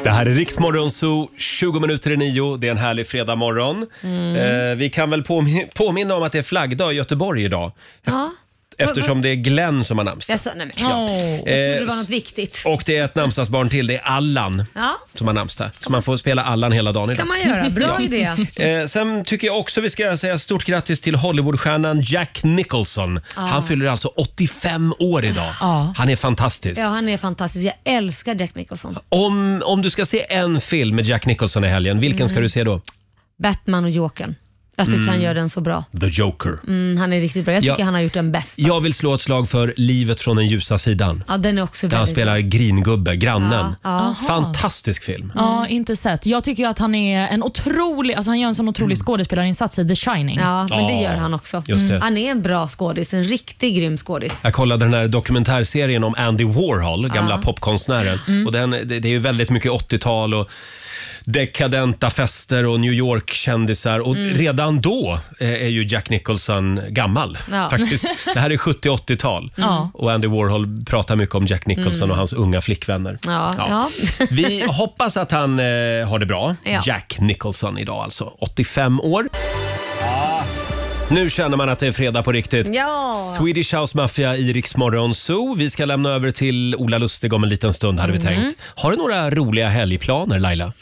A: Det här är Riksmorgon Zoo, 20 minuter i nio. Det är en härlig fredagmorgon.
K: Mm.
A: Eh, vi kan väl påmi- påminna om att det är flaggdag i Göteborg idag.
B: Ja.
A: Eftersom det är Glenn som har namnsdag.
B: Jag sa, nej men. jag
A: Eh,
B: trodde det var något viktigt.
A: Och det är ett namnsdagsbarn till, det är Allan
B: Ja,
A: som har namnsdag. Så man får spela Allan hela dagen idag.
B: kan man göra. Bra idé.
A: Eh, sen tycker jag också vi ska säga stort grattis till Hollywoodstjärnan Jack Nicholson.
B: Ja.
A: Han fyller alltså 85 år idag.
B: Ja.
A: Han är fantastisk.
B: Ja, han är fantastisk. Jag älskar Jack Nicholson.
A: Om, om du ska se en film med Jack Nicholson i helgen, vilken
B: Mm.
A: ska du se då?
B: Batman och Jokern. Jag tycker
A: Mm.
B: han gör den så bra.
A: The Joker.
B: Mm, han är riktigt bra. Jag tycker
A: Ja.
B: han har gjort den bäst.
A: Jag vill slå ett slag för Livet från den ljusa sidan.
B: Ja, den är också
A: Där han
B: väldigt bra.
A: spelar gringubbe, grannen.
C: Ja. Aha.
A: Fantastisk film.
C: Ja, inte sett. Jag tycker ju att han är en otrolig, alltså han gör en sån otrolig
P: Mm.
C: skådespelarinsats i The Shining.
B: Ja, men det
A: Ja,
B: gör han också.
A: just det.
B: Mm. Han är en bra skådis. En riktigt grym skådis.
A: Jag kollade den här dokumentärserien om Andy Warhol, gamla
B: Ja.
A: popkonstnären.
B: Mm.
A: Och den, det, det är ju väldigt mycket 80-tal och dekadenta fester och New York-kändisar. Och
B: Mm.
A: redan då eh, är ju Jack Nicholson gammal.
B: Ja.
A: Faktiskt. Det här är 70-80-tal.
B: Ja.
A: Och Andy Warhol pratar mycket om Jack Nicholson
B: Mm.
A: och hans unga flickvänner.
B: Ja,
A: Ja.
B: ja.
A: Vi hoppas att han eh, har det bra.
B: Ja.
A: Jack Nicholson idag alltså, 85 år. Nu känner man att det är fredag på riktigt.
B: Ja.
A: Swedish House Mafia i Rix Morgon Zoo. Vi ska lämna över till Ola Lustig om en liten stund hade vi
B: Mm.
A: tänkt. Har du några roliga helgplaner Laila?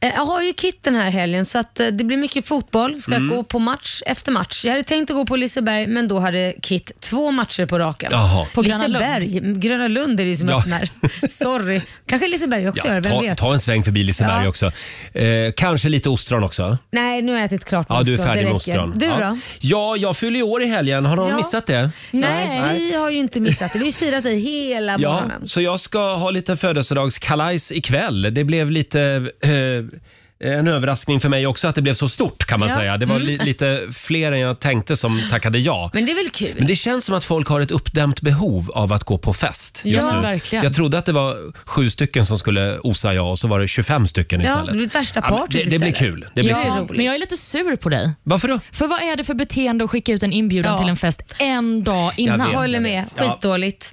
B: Eh, Jag har ju kit den här helgen så att eh, det blir mycket fotboll. Ska
A: Mm.
B: gå på match efter match. Jag hade tänkt att gå på Liseberg men då hade kit två matcher på raken.
A: Jaha. På Gröna
B: Liseberg, Gröna Lund är det ju som
A: Ja.
B: öppnar. Sorry. Kanske Liseberg också gör, vem
A: ta,
B: vet?
A: ta en sväng förbi Liseberg
B: Ja.
A: också. Eh, kanske lite ostron också.
B: Nej, nu har jag ätit klart
A: Ja, du är
B: ostron.
A: färdig
B: Det
A: med
B: räcker.
A: ostron.
B: Du
A: ja.
B: då?
A: Ja, jag fyller ju år i helgen. Har någon
B: Ja.
A: missat det?
B: Nej, vi har ju inte missat det. Vi har ju firat dig hela
A: Ja,
B: morgonen.
A: så jag ska ha lite födelsedagskalajs ikväll. Det blev lite... Eh, en överraskning för mig också att det blev så stort kan man
B: Ja.
A: säga. Det var li-
B: Mm.
A: lite fler än jag tänkte som tackade ja.
B: Men det är väl kul?
A: Men det känns som att folk har ett uppdämt behov av att gå på fest just
B: Ja,
A: nu.
B: verkligen.
A: Så jag trodde att det var sju stycken som skulle osa ja och så var det 25 stycken
C: Ja,
A: istället.
C: det blir värsta
A: men
C: partyt
A: det, det blir
C: istället.
A: kul. Det blir
C: ja,
A: kul.
C: Men jag är lite sur på dig.
A: Varför då?
C: För vad är det för beteende att skicka ut en inbjudan
B: Ja.
C: till en fest en dag innan?
A: vet, jag Håller
B: med.
A: Ja.
B: Skitdåligt.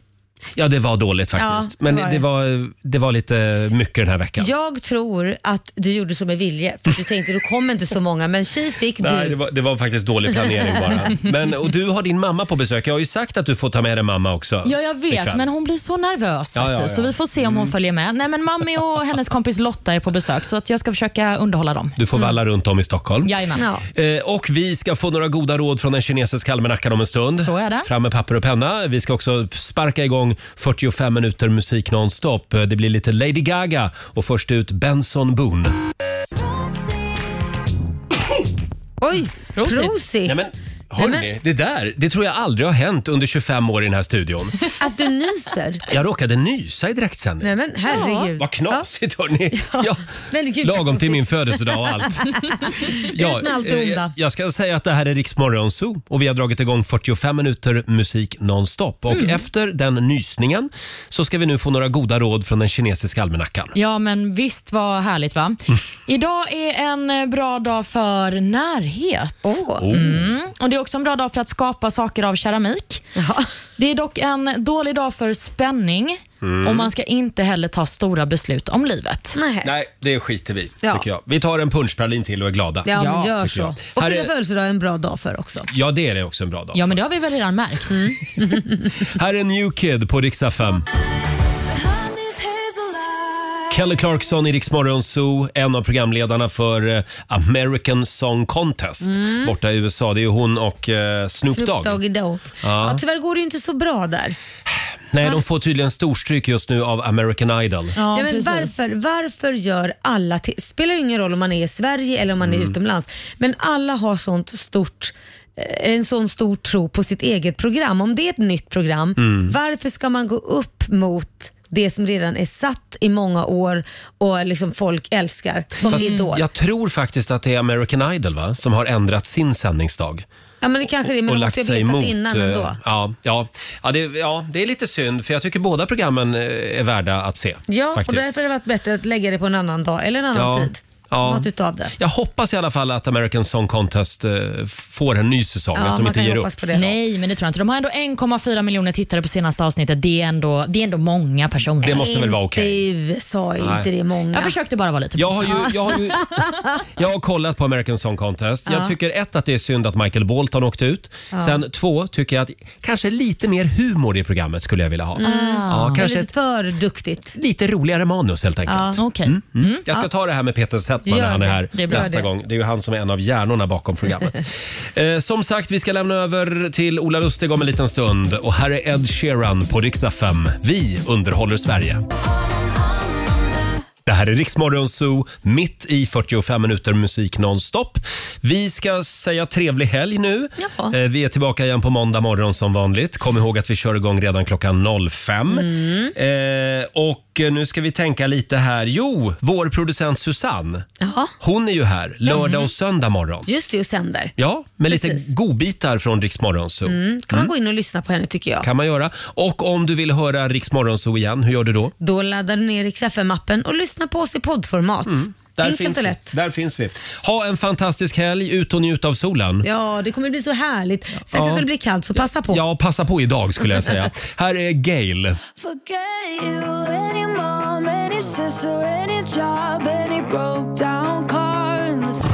A: Ja, det var dåligt faktiskt.
B: Ja,
A: men
B: det var
A: det var, det var lite mycket den här veckan.
B: Jag tror att du gjorde så med vilje, för du tänkte du kom inte så många, men tji fick du.
A: Nej, det var, det var faktiskt dålig planering bara. Men, och du har din mamma på besök. Jag har ju sagt att du får ta med dig mamma också.
C: Ja, jag vet,
A: ikväll.
C: men hon blir så nervös.
A: Ja,
C: vet du.
A: ja, Mm. ja.
C: Så vi får se om hon följer med. Nej, men Mammi och hennes kompis Lotta är på besök, så att jag ska försöka underhålla dem.
A: Du får valla runt om i Stockholm.
C: Jajamän.
A: Eh, och vi ska få några goda råd från den kinesiska almanackan om en stund.
C: Så är det.
A: Fram med papper och penna. Vi ska också sparka igång 45 minuter musik nonstop. Eh, Det blir lite Lady Gaga och först ut Benson Boone.
B: Oj, prosit.
A: Nej, men, hörni,
B: Nej,
A: det där, det tror jag aldrig har hänt under 25 år i den här studion.
B: Att du nyser.
A: Jag råkade nysa i direktsändning.
B: Nej men herregud.
A: Vad knasigt hörni. Ja.
B: Men gud,
A: Lagom till min födelsedag och allt.
B: Ut med allt det
A: eh,
B: onda.
A: Jag ska säga att det här är Riksmorgon Zoo och vi har dragit igång 45 minuter musik nonstop. Och
C: Mm.
A: efter den nysningen så ska vi nu få några goda råd från den kinesiska almanackan.
C: Ja, men visst var härligt
A: Mm.
C: va? Idag är en eh, bra dag för närhet.
A: Oh.
C: Mm. Och Det är också en bra dag för att skapa saker av keramik. Det är dock en dålig dag för spänning.
A: Mm.
C: Och man ska inte heller ta stora beslut om livet.
A: Nej, det skiter vi
B: Ja.
A: tycker jag. Vi tar en punschpralin till och är glada.
B: Ja, men gör
A: tycker
B: så.
A: jag.
B: Och
A: Här
B: fylla
A: är,
B: födelsedag är en bra dag för också.
A: ja, det är det också en bra dag.
C: Ja, men det har vi väl redan märkt.
B: Mm.
A: Här är New Kid på riksdag 5. Kelly Clarkson i Rix Morgon Zoo, en av programledarna för eh, American Song Contest
B: Mm.
A: borta i USA. Det är ju hon och eh, Snoop Dogg.
B: Dogg.
A: Ja.
B: Ja, tyvärr går det ju inte så bra där.
A: Nej, de får tydligen storstryk just nu av American Idol.
B: Ja, men varför, varför gör alla, te- spelar ingen roll om man är i Sverige eller om man är
A: Mm.
B: utomlands, men alla har sånt stort eh, en sån stor tro på sitt eget program. Om det är ett nytt program,
K: Mm.
B: varför ska man gå upp mot det som redan är satt i många år och liksom folk älskar som
A: Fast
B: Idol? Ja.
A: jag tror faktiskt att det är American Idol va? som har ändrat sin sändningsdag.
B: men det kanske det är, men
A: och
B: de
A: lagt
B: måste ju ha
A: sig
B: vetat
A: emot.
B: innan
A: eh,
B: ändå.
A: Ja, ja. Ja, det, ja, det är lite synd för jag tycker båda programmen eh, är värda att se.
B: Ja,
A: faktiskt.
B: och därför har det varit bättre att lägga det på en annan dag eller en annan
A: Ja,
B: tid.
A: ja.
B: Något utav det.
A: Jag hoppas i alla fall att American Song Contest eh, får en ny säsong, att de inte ger upp.
C: Nej, men det tror jag inte. De har ändå 1,4 miljoner tittare på senaste avsnittet. Det är ändå, det är ändå många personer.
A: Det måste väl vara okej.
B: I USA är
A: Nej.
B: inte det många.
C: Jag försökte bara vara lite
A: Jag har ju- jag har ju- Jag har kollat på American Song Contest.
B: Ja.
A: Jag tycker ett att det är synd att Michael Bolton åkte ut.
B: Ja.
A: Sen två tycker jag att kanske lite mer humor i programmet skulle jag vilja ha.
B: Mm.
A: Ja,
B: Det är
A: kanske
B: lite
A: ett
B: för duktigt.
A: lite roligare manus helt enkelt.
B: Ja.
C: Mm,
A: mm. Jag ska
B: Ja.
A: ta det här med Peter Settman när
B: Gör
A: han är
B: det.
A: här
B: Det är bra
A: nästa
B: det.
A: gång. Det är ju han som är en av hjärnorna bakom programmet. eh, som sagt, vi ska lämna över till Ola Lustig om en liten stund. Och här är Ed Sheeran på riksdag 5. Vi underhåller Sverige. Det här är Riksmorgon Zoo, mitt i 45 minuter musik nonstop. Vi ska säga trevlig helg nu. Eh, Vi är tillbaka igen på måndag morgon som vanligt. Kom ihåg att vi kör igång redan klockan 05.
B: Mm.
A: Eh, och eh, nu ska vi tänka lite här. Jo, vår producent Susanne,
B: Ja,
A: hon är ju här lördag och söndag morgon.
B: just det och sänder.
A: Ja, med
B: Mhm. Precis.
A: lite godbitar från Riksmorgon Zoo.
B: Mm. kan man
A: Mm.
B: gå in och lyssna på henne tycker jag.
A: kan man göra. Och om du vill höra Riksmorgon Zoo igen, hur gör du då?
B: Då laddar du ner Rix FM-appen och lyssnar på oss i poddformat. Enkelt
A: finns
B: och lätt.
A: Vi. Mm. Där finns vi. Ha en fantastisk helg, ut och njut av solen.
B: Ja, det kommer bli så härligt. Sen
A: Ja.
B: kanske det blir kallt, så passa på.
A: Ja, passa på idag skulle jag säga. Här är Gail.
K: Forget you, any mom, any sister, any job, any broke down car. and the-